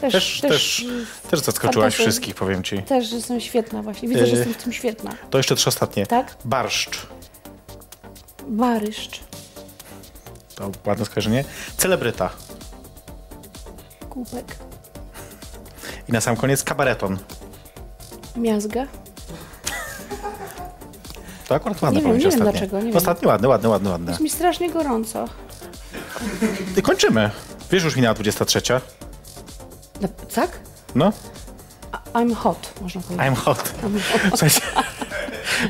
C: Też,
B: Też, też, też zaskoczyłaś
C: fantazy-
B: wszystkich, powiem ci.
C: też jestem świetna właśnie. Widzę,
B: Yy.
C: że jestem w tym świetna.
B: To jeszcze trzy ostatnie.
C: Tak?
B: Barszcz.
C: Baryszcz.
B: To ładne skojarzenie. Celebryta.
C: Kubek.
B: I na sam koniec kabareton.
C: Miazga.
B: To akurat ładne
C: Nie wiem,
B: powiem ci
C: nie wiem
B: ostatnie.
C: dlaczego, nie wiem.
B: ostatnie ładne, ładne, ładne, ładne.
C: Jest mi strasznie gorąco.
B: I kończymy. Wiesz, już minęła 23.
C: No, tak?
B: No,
C: I'm hot, można powiedzieć.
B: I'm hot. Słuchajcie,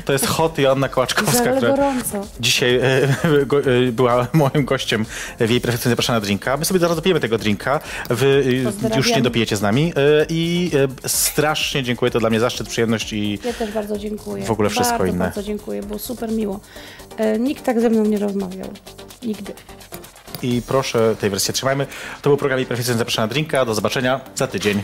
B: to jest hot Joanna Kołaczkowska,
C: Ale
B: która
C: gorąco.
B: dzisiaj e, go, e, była moim gościem w jej perfekcyjnie zapraszana drinka. My sobie zaraz dopijemy tego drinka. Wy e,
C: Pozdrawiam.
B: już nie dopijecie z nami. E, I e, strasznie dziękuję, to dla mnie zaszczyt, przyjemność i
C: Ja też bardzo dziękuję.
B: W ogóle wszystko
C: bardzo,
B: inne.
C: Bardzo dziękuję, było super miło. E, nikt tak ze mną nie rozmawiał. Nigdy.
B: i proszę tej wersji trzymajmy. To był program Perfekcyjnie Zapraszana Drinka. Do zobaczenia za tydzień.